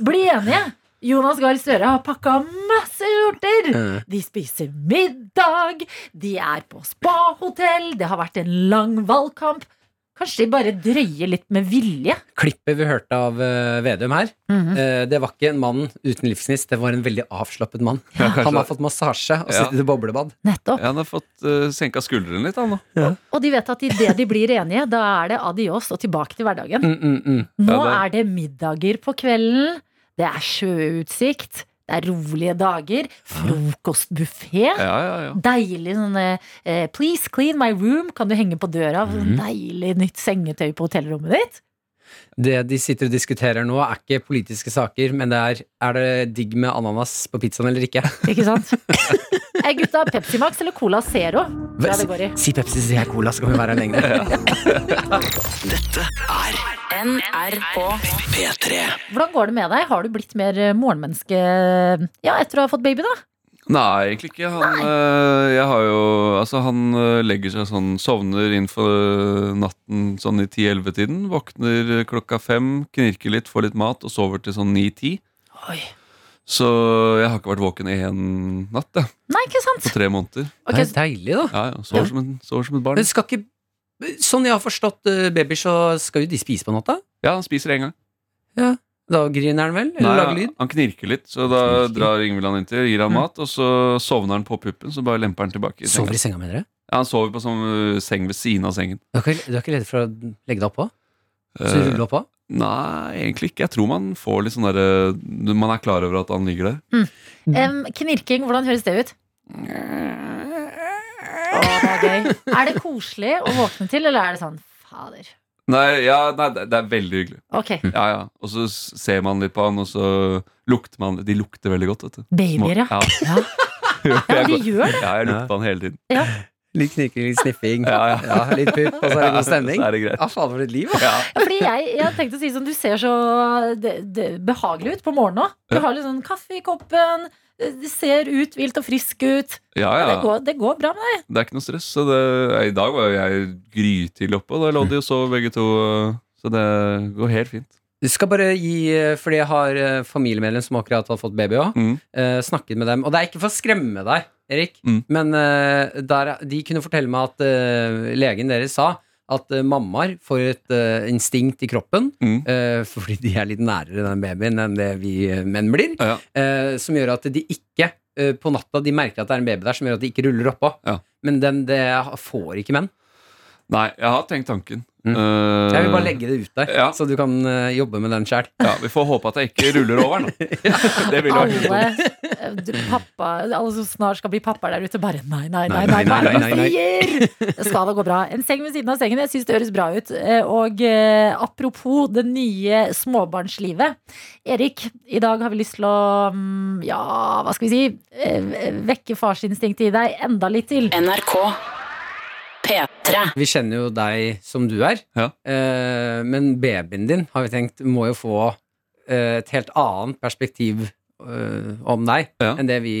Speaker 2: Bli enige! Jonas Gahr Støre har pakka masse skjorter!
Speaker 6: Mm.
Speaker 2: De spiser middag, de er på spahotell, det har vært en lang valgkamp. Kanskje de bare drøyer litt med vilje?
Speaker 3: Klippet vi hørte av eh, Vedum her, eh, det var ikke en mann uten livsgnist, det var en veldig avslappet mann.
Speaker 7: Ja, kanskje
Speaker 3: Han har
Speaker 7: det.
Speaker 3: fått massasje og
Speaker 7: Ja.
Speaker 3: sittet i boblebad.
Speaker 2: Nettopp.
Speaker 7: Ja, han har fått eh, senka skuldrene litt, han da.
Speaker 2: Og de vet at idet de blir enige, da er det adios og tilbake til hverdagen.
Speaker 7: Mm,
Speaker 2: Nå er det middager på kvelden, det er sjøutsikt, det er rolige dager, frokostbuffé.
Speaker 6: Ja, ja, ja.
Speaker 2: Deilig sånn eh, 'please clean my room', kan du henge på døra? Sånn
Speaker 3: Mhm.
Speaker 2: Deilig nytt sengetøy på hotellrommet ditt.
Speaker 3: Det de sitter og diskuterer nå, er ikke politiske saker, men det er er det digg med ananas på pizzaen eller ikke.
Speaker 2: Ikke sant? Er gutta Pepsi Max eller Cola Zero? Det er det går i.
Speaker 3: Si Pepsi, si jeg cola, så kan vi være her lenge.
Speaker 4: Dette er
Speaker 1: NRK
Speaker 4: P3.
Speaker 2: Hvordan går det med deg? Har du blitt mer eh, morgenmenneske eh, ja, etter å ha fått baby, da?
Speaker 7: Nei, egentlig ikke. Han, eh, jeg har jo, altså, han eh, legger seg sånn, sovner innenfor eh, natten sånn i 10-11-tiden. Våkner eh, klokka fem, knirker litt, får litt mat og sover til sånn 9-10. Så jeg har ikke vært våken i én natt, jeg.
Speaker 2: Nei, ikke sant?
Speaker 7: På tre måneder.
Speaker 3: Ok, Det er så- deilig, da.
Speaker 7: Ja, ja, sover, Som en, sover som et barn.
Speaker 3: Men skal ikke Sånn jeg har forstått eh, babyer, så skal jo de spise på natta?
Speaker 7: Ja, han spiser én gang.
Speaker 3: Ja, Da griner han vel? Eller
Speaker 7: Nei,
Speaker 3: lager lyd?
Speaker 7: Han knirker litt, Mm. så da drar Ingvild han inntil, gir han mat, og så sovner han på puppen, så bare lemper han tilbake.
Speaker 3: Sover i senga, mener du?
Speaker 7: Ja, han sover på sånn ø, seng ved siden av sengen.
Speaker 3: Du er ikke, du er ikke redd for å legge deg oppå? Så
Speaker 7: Eh,
Speaker 3: rulle oppå?
Speaker 7: Nei, egentlig ikke. Jeg tror man får litt sånn derre Man er klar over at han ligger der.
Speaker 2: Em, knirking, hvordan høres det ut? Å, det er gøy. Er det koselig å våkne til, eller er det sånn fader?
Speaker 7: Nei, ja, nei det det er veldig hyggelig.
Speaker 2: Ok.
Speaker 7: Ja, ja. Og så s- ser man litt på han, og så lukter man De lukter veldig godt, vet du.
Speaker 2: Babyer, ja.
Speaker 7: ja.
Speaker 2: men de gjør det.
Speaker 7: Ja, jeg lukter på han hele tiden.
Speaker 2: Ja.
Speaker 3: Litt knirking, litt sniffing,
Speaker 7: Ja, ja.
Speaker 3: Ja, litt pupp, og så er det
Speaker 7: Ja,
Speaker 3: god stemning.
Speaker 7: så er det greit.
Speaker 3: Ja, faen, for et liv, da.
Speaker 2: Ja, fordi jeg, jeg hadde tenkt å si sånn, du ser så det, det, behagelig ut på morgenen òg. Du
Speaker 7: Ja.
Speaker 2: har litt sånn kaffe i koppen, du ser uthvilt og frisk ut.
Speaker 7: Ja, ja.
Speaker 2: Det, går, det går bra med deg.
Speaker 7: Det er ikke noe stress. Så det, I dag var jo jeg grytidlig oppe, og da lå de og sov begge to. Så det går helt fint.
Speaker 3: Du skal bare gi, eh, fordi jeg har eh, familiemedlem som akkurat har fått baby òg,
Speaker 7: Mm.
Speaker 3: snakket med dem. Og det er ikke for å skremme deg, Erik,
Speaker 7: Mm.
Speaker 3: men eh, der, de kunne fortelle meg at eh, legen deres sa at eh, mammaer får et eh, instinkt i kroppen eh, fordi de er litt nærere den babyen enn det vi eh, menn blir, eh, som gjør at de ikke eh, på natta de merker at det er en baby der, som gjør at de ikke ruller oppå. Men den, det får ikke menn.
Speaker 7: Nei, jeg har tenkt tanken.
Speaker 3: Mm.
Speaker 7: Eh,
Speaker 3: Jeg vil bare legge det ut der, så du kan eh, jobbe med den sjæl.
Speaker 7: Ja, vi får håpe at jeg ikke ruller over den. Det ville vært
Speaker 2: Alle, eh, du, pappa, alle som snart skal bli pappa der ute, bare nei, nei, nei. nei,
Speaker 3: Nei, nei,
Speaker 2: nei,
Speaker 3: nei, nei, nei.
Speaker 2: Sier! Det skal da gå bra. En seng ved siden av sengen. Jeg syns det høres bra ut. Eh, Og eh, apropos det nye småbarnslivet. Erik, i dag har vi lyst til å mm, ja, hva skal vi si eh, vekke farsinstinktet i deg enda litt til.
Speaker 1: NRK P3.
Speaker 3: Vi kjenner jo deg som du er, eh, men babyen din har vi tenkt må jo få eh, et helt annet perspektiv eh, om deg enn det vi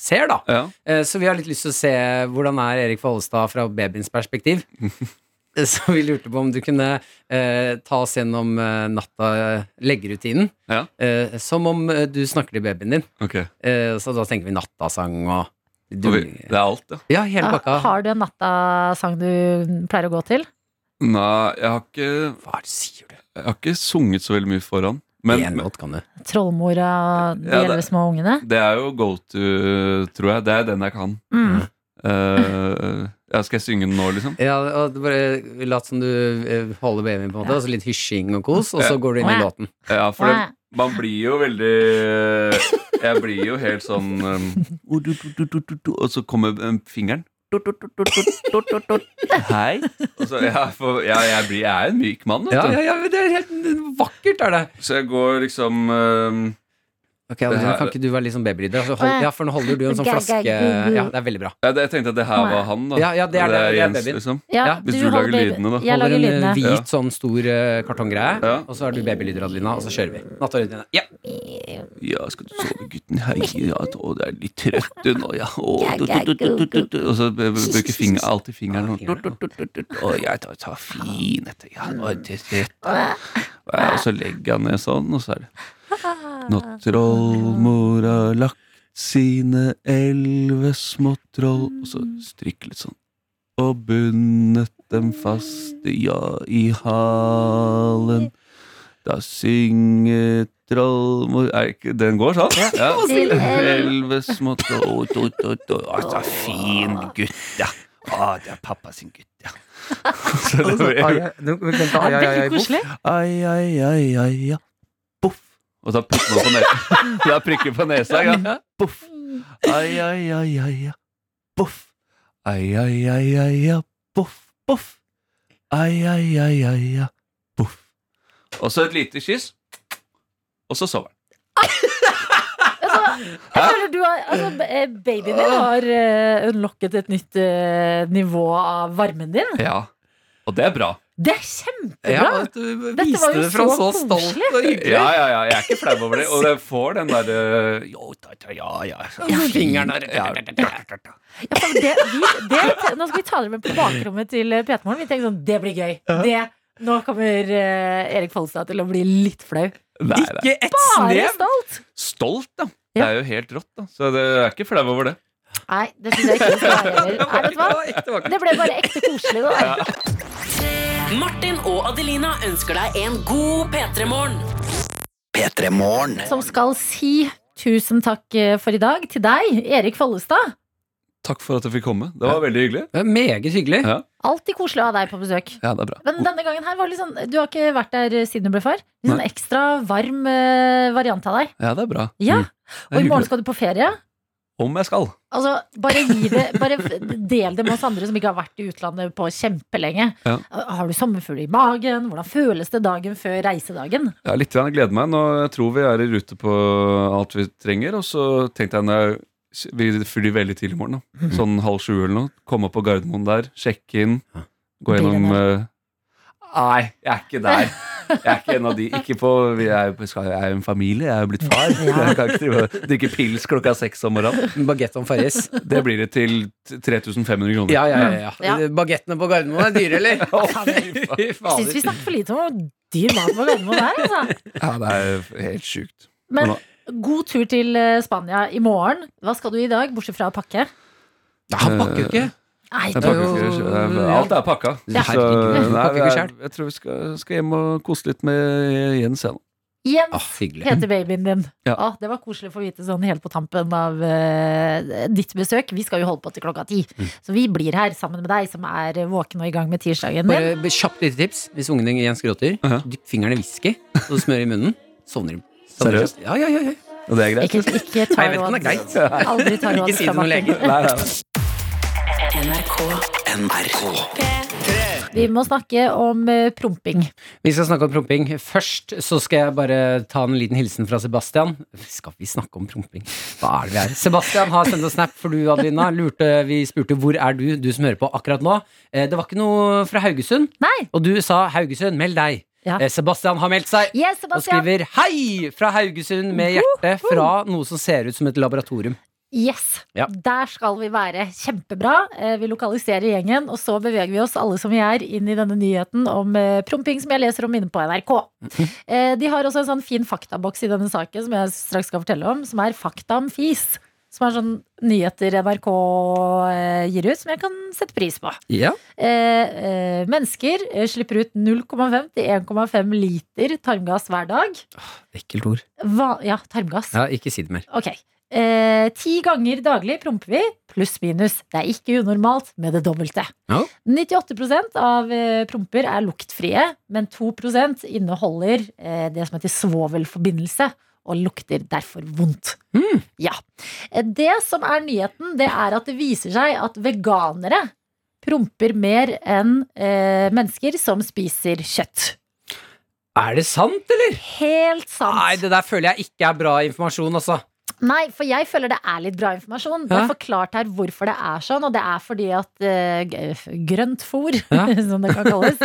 Speaker 3: ser, da. Eh, så vi har litt lyst til å se hvordan er Erik Follestad fra babyens perspektiv. Eh, Så vi lurte på om du kunne eh, ta oss gjennom eh, natta, eh, leggerutinen. Eh, som om eh, du snakker til babyen din. Eh, så da tenker vi nattasang og
Speaker 7: Det er alt, ja.
Speaker 3: Ja, hele pakka.
Speaker 2: Har du en nattasang du pleier å gå til?
Speaker 7: Nei, jeg har ikke
Speaker 3: Hva sier du?
Speaker 7: Jeg har ikke sunget så veldig mye foran. Men, en
Speaker 3: låt kan du.
Speaker 2: Trollmora, de
Speaker 7: Ja, det-
Speaker 2: elleve små ungene?
Speaker 7: Det er jo go to, tror jeg. Det er den jeg kan.
Speaker 2: Mm.
Speaker 7: Eh, ja, skal jeg synge den nå, liksom?
Speaker 3: Ja, og du bare lat som du eh, holder babyen, på en måte, og så litt hysjing og kos, og så går du inn i låten.
Speaker 7: Ja, for det, Man blir jo veldig eh, Jeg blir jo helt sånn um, Og så kommer um, fingeren. Hei. Og så, ja, for, ja, jeg, blir, jeg er en myk mann, vet
Speaker 3: Ja,
Speaker 7: du.
Speaker 3: ja, ja, men det er helt vakkert, er det.
Speaker 7: Så jeg går liksom um,
Speaker 3: Ok, Alexander, Kan ikke du være litt sånn babyrytter? Altså, hold, ja, for nå holder du en sånn flaske Ja, det er veldig bra.
Speaker 7: Ja, det, jeg tenkte at det her var han, da.
Speaker 3: Ja, ja, det er det, det er
Speaker 7: Jens,
Speaker 3: babyen.
Speaker 7: liksom.
Speaker 2: Ja,
Speaker 7: Hvis
Speaker 2: du
Speaker 7: du,
Speaker 2: holder
Speaker 7: lager
Speaker 2: baby-
Speaker 7: lydene, da.
Speaker 2: Jeg lager
Speaker 3: Holder en
Speaker 2: lydene.
Speaker 3: eh, hvit
Speaker 2: Ja.
Speaker 3: sånn stor eh, kartonggreie, og så er du babylyder, Adelina, og så kjører vi. Nattarøydina. Ja.
Speaker 7: Ja, skal du sove, gutten? Hei, ja, å, det er litt trøtt du nå, ja. Å, du, du, du, du, du, du. Og så b- b- bruker finger, alltid fingeren. Du, du, du, du, du. Å, jeg tar, tar fin etter, ja, nå er det trøtt. Ja, Og så legger han ned sånn, og så er det Nå trollmor har lagt sine elleve små troll Og så strikke litt sånn. Og bundet dem fast, ja, i halen. Da synger trollmor Er ikke Den går sånn? Ja.
Speaker 6: Til
Speaker 7: Elleve små troll to, to, to. Å, så fin gutt, ja. Å, det er pappa sin gutt, ja. Så det blir-
Speaker 6: ai, ai, ai, boff. koselig.
Speaker 7: Ai, ai, ai, ai, ja. Boff. Og da prikker man på nesa. Da prikker på nesa, ja. Boff. Ai, ai, ai, ai, ja. Boff. Ai, ai, ai, ai, ja. Boff, boff. Ai, ai, ai, ai, ja. Boff. Og så et lite kyss, og så sover han.
Speaker 2: Altså, jeg føler du har, altså, b- eh, babyen din har eh, unlocket et nytt eh, nivå av varmen din.
Speaker 7: Ja. Og det er bra.
Speaker 2: Det er kjempebra!
Speaker 7: Ja, og
Speaker 2: Dette var jo så, koselig.
Speaker 7: Ja, ja, ja, jeg er ikke flau over det. Og jeg får den derre Jo, ta, ta, ja, ja.
Speaker 3: fingeren der.
Speaker 2: Ja, for det, vi, det, nå skal vi ta dere med på bakrommet til eh, P3morgen. Vi tenker sånn, det blir gøy. Det, nå kommer eh, Erik Folstad til å bli litt flau.
Speaker 7: Nei, nei.
Speaker 3: et
Speaker 2: Bare
Speaker 7: snev.
Speaker 2: stolt!
Speaker 7: Stolt, da. Det er jo helt rått, da. Så det jeg er ikke flau over det.
Speaker 2: Nei, det syns jeg ikke vi skal være heller. Nei, vet du hva? Det ble bare ekte koselig, da.
Speaker 7: Ja.
Speaker 1: Martin og Adelina ønsker deg en god P3-morgen.
Speaker 2: Som skal si tusen takk eh, for i dag til deg, Erik Follestad.
Speaker 7: Takk for at jeg fikk komme. Det var veldig hyggelig.
Speaker 3: meget hyggelig.
Speaker 7: Ja.
Speaker 2: Alltid koselig å ha deg på besøk.
Speaker 7: ja, det er bra.
Speaker 2: Men denne gangen her var litt sånn Du har ikke vært der siden du ble far. Litt sånn ekstra varm eh, variant av deg.
Speaker 7: Ja, det er bra.
Speaker 2: Ja.
Speaker 7: Mm. Det er
Speaker 2: Og i morgen
Speaker 7: hyggelig.
Speaker 2: skal du på ferie.
Speaker 7: Om jeg skal.
Speaker 2: Altså, bare gi det Bare del det med oss andre som ikke har vært i utlandet på kjempelenge.
Speaker 7: Ja.
Speaker 2: Har du sommerfugl i magen? Hvordan føles det dagen før reisedagen?
Speaker 7: Jeg har litt grann gleder meg. Nå jeg tror vi er i rute på alt vi trenger. Og så tenkte jeg når jeg vi flyr veldig tidlig i morgen, da. sånn halv sju eller noe. Komme opp på Gardermoen der, sjekke inn, gå gjennom eh, Nei, jeg er ikke der. Jeg er ikke en av de. Ikke på, vi er, jo- skal, jeg er jo en familie, jeg er jo blitt far. Jeg kan ikke drive og drikke pils klokka seks om morgenen.
Speaker 3: Bagett om Farris.
Speaker 7: Det blir det til 3500 kroner.
Speaker 3: Ja, ja, ja. ja. Bagettene på Gardermoen er dyre, eller? Fy
Speaker 2: Jeg syns vi snakker for lite om hvor dyr mat på Gardermoen er. Altså.
Speaker 7: Ja, det er helt sjukt.
Speaker 2: Men god tur til eh, Spania i morgen. Hva skal du i dag, bortsett fra å pakke?
Speaker 7: han
Speaker 3: pakker jo ikke.
Speaker 2: Nei,
Speaker 7: Jeg pakker ikke, det er- Alt er pakka.
Speaker 2: Ja.
Speaker 7: Så,
Speaker 3: Herregud,
Speaker 7: nei,
Speaker 3: pakker ikke
Speaker 7: jeg, jeg tror vi skal, skal hjem og kose litt med Jens. jeg nå.
Speaker 2: Jens
Speaker 3: Ah, hyggelig.
Speaker 2: heter babyen din.
Speaker 7: Ja.
Speaker 2: Å, det var koselig å få vite sånn helt på tampen av eh, ditt besøk. Vi skal jo holde på til klokka ti.
Speaker 3: Mm.
Speaker 2: Så vi blir her sammen med deg som er våken og i gang med tirsdagen
Speaker 3: Bare
Speaker 2: din.
Speaker 3: b- kjapt lite tips. Hvis ungen din Jens gråter, dypp fingeren i whisky, og du smører i munnen, sovner de. Sovner de.
Speaker 7: Seriøst?
Speaker 3: Ja, ja, ja, ja.
Speaker 7: Og det er greit?
Speaker 2: Ikke, ikke ta
Speaker 3: Nei, jeg vet ikke om
Speaker 2: råd.
Speaker 3: det er greit.
Speaker 2: Aldri ta råd
Speaker 3: Ikke si det
Speaker 2: fra
Speaker 3: til noen
Speaker 2: Martin.
Speaker 3: leger. Nei, nei, nei.
Speaker 2: Vi må snakke om eh, promping.
Speaker 3: Vi skal snakke om promping. Først så skal jeg bare ta en liten hilsen fra Sebastian. Skal vi snakke om promping? Hva er det vi er? Sebastian har sendt oss snap for du, Adelina. Lurte, vi spurte hvor er du, du som hører på akkurat nå. Eh, Det var ikke noe fra Haugesund. Og du sa Haugesund, meld deg.
Speaker 2: Ja.
Speaker 3: Eh, Sebastian har meldt seg
Speaker 2: Yes,
Speaker 3: og
Speaker 2: Sebastian.
Speaker 3: skriver hei fra Haugesund med hjerte fra noe som ser ut som et laboratorium.
Speaker 2: Yes!
Speaker 3: Ja.
Speaker 2: Der skal vi være. Kjempebra. Eh, Vi lokaliserer gjengen, og så beveger vi oss alle som vi er, inn i denne nyheten om eh, promping som jeg leser om inne på NRK. Eh, De har også en sånn fin faktaboks i denne saken som jeg straks skal fortelle om, som er Fakta om fis. Som er sånn nyheter NRK eh, gir ut, som jeg kan sette pris på.
Speaker 3: Ja.
Speaker 2: Eh, eh, mennesker eh, slipper ut 0,5 til 1,5 liter tarmgass hver dag.
Speaker 3: Ekkelt ord.
Speaker 2: Hva, ja, tarmgass.
Speaker 3: Ja, ikke si det mer.
Speaker 2: Ok. eh, ti ganger daglig promper vi, pluss-minus. Det er ikke unormalt med det dobbelte. 98 av eh, promper er luktfrie, men 2 inneholder eh, det som heter svovelforbindelse, og lukter derfor vondt. Ja. Eh, Det som er nyheten, det er at det viser seg at veganere promper mer enn eh, mennesker som spiser kjøtt.
Speaker 3: Er det sant, eller?
Speaker 2: Helt sant.
Speaker 3: Nei, det der føler jeg ikke er bra informasjon, altså.
Speaker 2: Nei, for jeg føler det er litt bra informasjon. Det
Speaker 3: Ja.
Speaker 2: er forklart her hvorfor det er sånn, og det er fordi at eh, g- grønt fôr,
Speaker 3: Ja.
Speaker 2: som det kan kalles,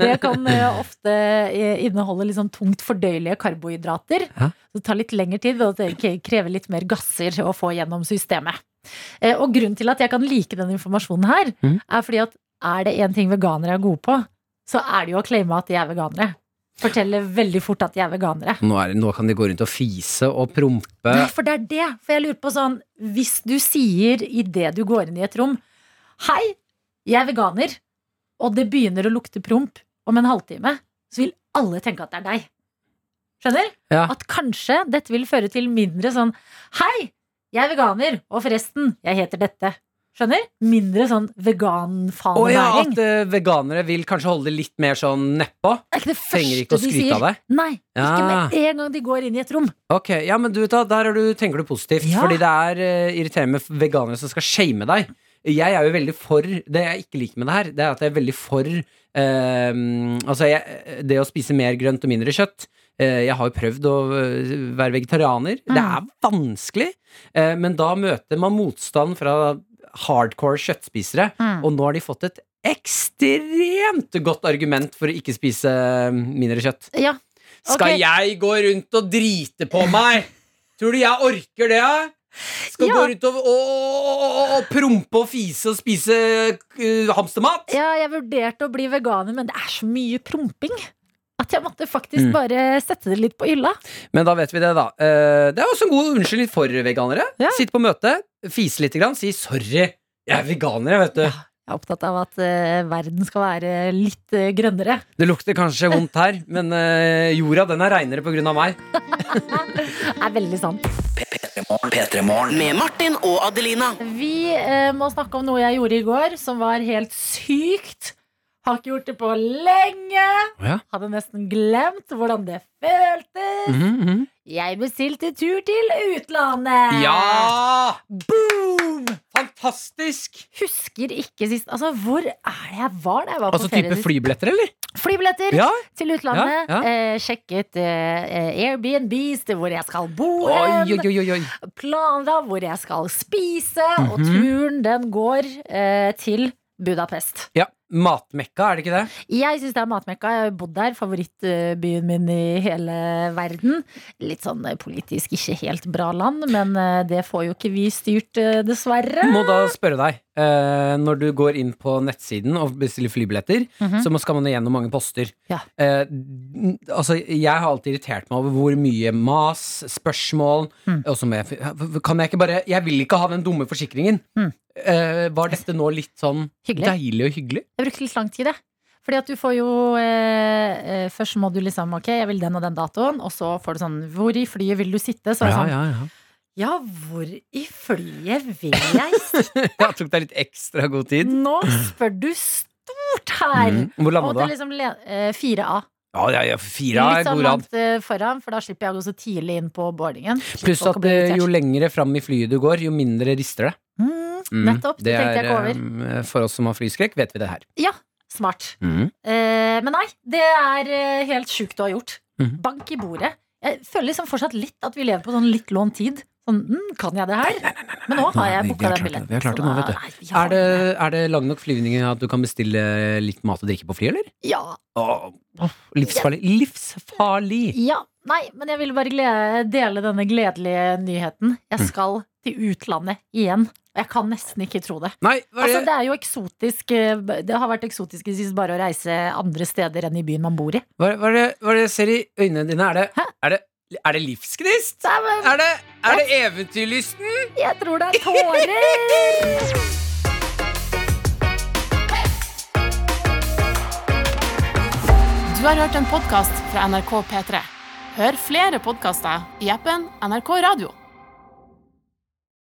Speaker 2: det kan eh, ofte eh, inneholde litt sånn tungt fordøyelige karbohydrater.
Speaker 3: Ja.
Speaker 2: Så det tar litt lengre tid, og det k- krever litt mer gasser å få gjennom systemet. Eh, Og grunnen til at jeg kan like den informasjonen her,
Speaker 3: Mhm.
Speaker 2: er fordi at er det én ting veganere er gode på, så er det jo å claime at de er veganere. Fortelle veldig fort at de er veganere.
Speaker 3: Nå, er, nå kan de gå rundt og fise og prompe.
Speaker 2: Nei, for det er det. For jeg lurer på sånn Hvis du sier idet du går inn i et rom Hei, jeg er veganer, og det begynner å lukte promp om en halvtime, så vil alle tenke at det er deg. Skjønner?
Speaker 3: Ja.
Speaker 2: At kanskje dette vil føre til mindre sånn Hei, jeg er veganer, og forresten, jeg heter dette. Skjønner? Mindre sånn
Speaker 3: Å ja,
Speaker 2: veganfanenæring.
Speaker 3: at eh, veganere vil kanskje holde det litt mer sånn nedpå.
Speaker 2: Det er ikke det
Speaker 3: Trenger ikke å
Speaker 2: første de
Speaker 3: skryte
Speaker 2: sier.
Speaker 3: av deg.
Speaker 2: Nei. Ikke
Speaker 3: Ja.
Speaker 2: med en gang de går inn i et rom.
Speaker 3: Ok, ja, men du, vet hva, Der er du, tenker du positivt.
Speaker 2: Ja.
Speaker 3: Fordi det er eh, irriterende med f- veganere som skal shame deg. Jeg er jo veldig for Det jeg ikke liker med det her, det er at jeg er veldig for eh, Altså, jeg, det å spise mer grønt og mindre kjøtt. Eh, jeg har jo prøvd å eh, være vegetarianer. Det er vanskelig, eh, men da møter man motstand fra hardcore kjøttspisere,
Speaker 2: Mm.
Speaker 3: og nå har de fått et ekstremt godt argument for å ikke spise um, mindre kjøtt.
Speaker 2: Ja.
Speaker 3: Skal
Speaker 2: Ok.
Speaker 3: jeg gå rundt og drite på meg? Tror du jeg orker det? ja? Skal
Speaker 2: Ja.
Speaker 3: gå rundt og, og, og, og, og prompe og fise og spise eh, hamstermat?
Speaker 2: Ja, jeg vurderte å bli veganer, men det er så mye promping at jeg måtte faktisk
Speaker 3: Mm.
Speaker 2: bare sette det litt på hylla.
Speaker 3: Men da vet vi det, da. Eh, Det er også en god unnskyldning for veganere. Sitt på møte, fise litt, grann, si 'sorry, jeg er veganer', jeg, vet du.
Speaker 2: Jeg er opptatt av at eh, verden skal være litt eh, grønnere.
Speaker 3: Det lukter kanskje vondt her, men eh, jorda den er reinere på grunn av meg.
Speaker 2: Det er veldig sant.
Speaker 1: Med Martin og Adelina.
Speaker 2: Vi eh, må snakke om noe jeg gjorde i går som var helt sykt. Har ikke gjort det på lenge.
Speaker 3: Ja.
Speaker 2: Hadde nesten glemt hvordan det føltes. Jeg bestilte tur til utlandet.
Speaker 3: Ja!
Speaker 2: Eh, Boom!
Speaker 3: Fantastisk!
Speaker 2: Husker ikke sist Altså, hvor er det jeg var da jeg var
Speaker 3: Altså
Speaker 2: på ferie?
Speaker 3: type
Speaker 2: sist?
Speaker 3: flybilletter, eller?
Speaker 2: Flybilletter
Speaker 3: Ja.
Speaker 2: til
Speaker 3: Ja,
Speaker 2: utlandet.
Speaker 3: ja.
Speaker 2: Eh, sjekket eh, Airbnbs til hvor jeg skal bo
Speaker 3: Oi,
Speaker 2: hen.
Speaker 3: oi, oi, oi.
Speaker 2: Planla hvor jeg skal spise. Og
Speaker 3: Mhm.
Speaker 2: turen, den går eh, til Budapest.
Speaker 3: Ja, Matmekka, er det ikke det?
Speaker 2: Jeg syns det er matmekka. Jeg har jo bodd der. Favorittbyen min i hele verden. Litt sånn eh, politisk ikke helt bra land, men eh, det får jo ikke vi styrt, eh, dessverre.
Speaker 3: Må da spørre deg, eh, når du går inn på nettsiden og bestiller flybilletter,
Speaker 2: Mhm.
Speaker 3: så må- skal man jo gjennom mange poster.
Speaker 2: Ja.
Speaker 3: Eh, n- altså, jeg har alltid irritert meg over hvor mye mas, spørsmål
Speaker 2: Mm.
Speaker 3: og så må jeg, f- Kan jeg ikke bare Jeg vil ikke ha den dumme forsikringen.
Speaker 2: Mm.
Speaker 3: Eh, var dette nå litt sånn
Speaker 2: Hyggelig.
Speaker 3: deilig og hyggelig?
Speaker 2: Jeg brukte litt lang tid, jeg. Fordi at du får jo eh, eh, Først må du liksom Ok, jeg vil den og den datoen, og så får du sånn Hvor i flyet vil du sitte? Så er det sånn ja. hvor i flyet vil jeg sitte?
Speaker 3: Jeg tok deg litt ekstra god tid.
Speaker 2: Nå spør du stort her!
Speaker 3: Mm. Hvor landa
Speaker 2: Og
Speaker 3: du, da?
Speaker 2: det Liksom, le- eh, 4A.
Speaker 3: Ja, ja, ja, fire er
Speaker 2: litt sånn
Speaker 3: god rad.
Speaker 2: langt eh, foran, for da slipper jeg å gå så tidlig inn på boardingen. Slipper
Speaker 3: Pluss at
Speaker 2: folk å bli
Speaker 3: eh,
Speaker 2: irritert.
Speaker 3: jo lengre fram i flyet du går, jo mindre rister det. Mm.
Speaker 2: nettopp, det tenkte jeg ikke
Speaker 3: er, eh, For oss som har flyskrekk, vet vi det her.
Speaker 2: Ja, smart.
Speaker 3: Mm.
Speaker 2: Eh, men nei, det er eh, helt sjukt å ha gjort.
Speaker 3: Mhm.
Speaker 2: Bank i bordet. Jeg føler liksom fortsatt litt at vi lever på sånn litt lånt tid. Sånn, mm, kan jeg det her? Men nå
Speaker 3: Nå
Speaker 2: har
Speaker 3: er
Speaker 2: jeg
Speaker 3: vi- vi
Speaker 2: booka
Speaker 3: har klart
Speaker 2: den
Speaker 3: det.
Speaker 2: billetten.
Speaker 3: Vi har klart det
Speaker 2: så
Speaker 3: nå,
Speaker 2: da-
Speaker 3: vet du.
Speaker 2: Nei, vi
Speaker 3: Er
Speaker 2: har
Speaker 3: det, er det lang nok flyvning at du kan bestille litt mat og drikke på fly, eller?
Speaker 2: Ja.
Speaker 3: Åh, åh, livsfarlig. Livsfarlig!
Speaker 2: ja. Nei, men jeg ville bare glede, dele denne gledelige nyheten.
Speaker 3: Mm.
Speaker 2: Jeg skal til utlandet igjen. Og jeg kan nesten ikke tro det.
Speaker 3: Nei, hva
Speaker 2: Altså,
Speaker 3: er
Speaker 2: det
Speaker 3: det?
Speaker 2: er jo eksotisk eh, Det har vært eksotisk i det siste bare å reise andre steder enn i byen man bor i.
Speaker 3: Hva, hva, er det, hva er det jeg ser i øynene dine? Er det, er det, er det livsgnist?
Speaker 2: Nei, men-
Speaker 3: Er det, er det eventyrlysten?
Speaker 2: Jeg tror det er tårer!
Speaker 14: Du har hørt en podkast fra NRK P3. Hør flere podkaster i appen NRK Radio.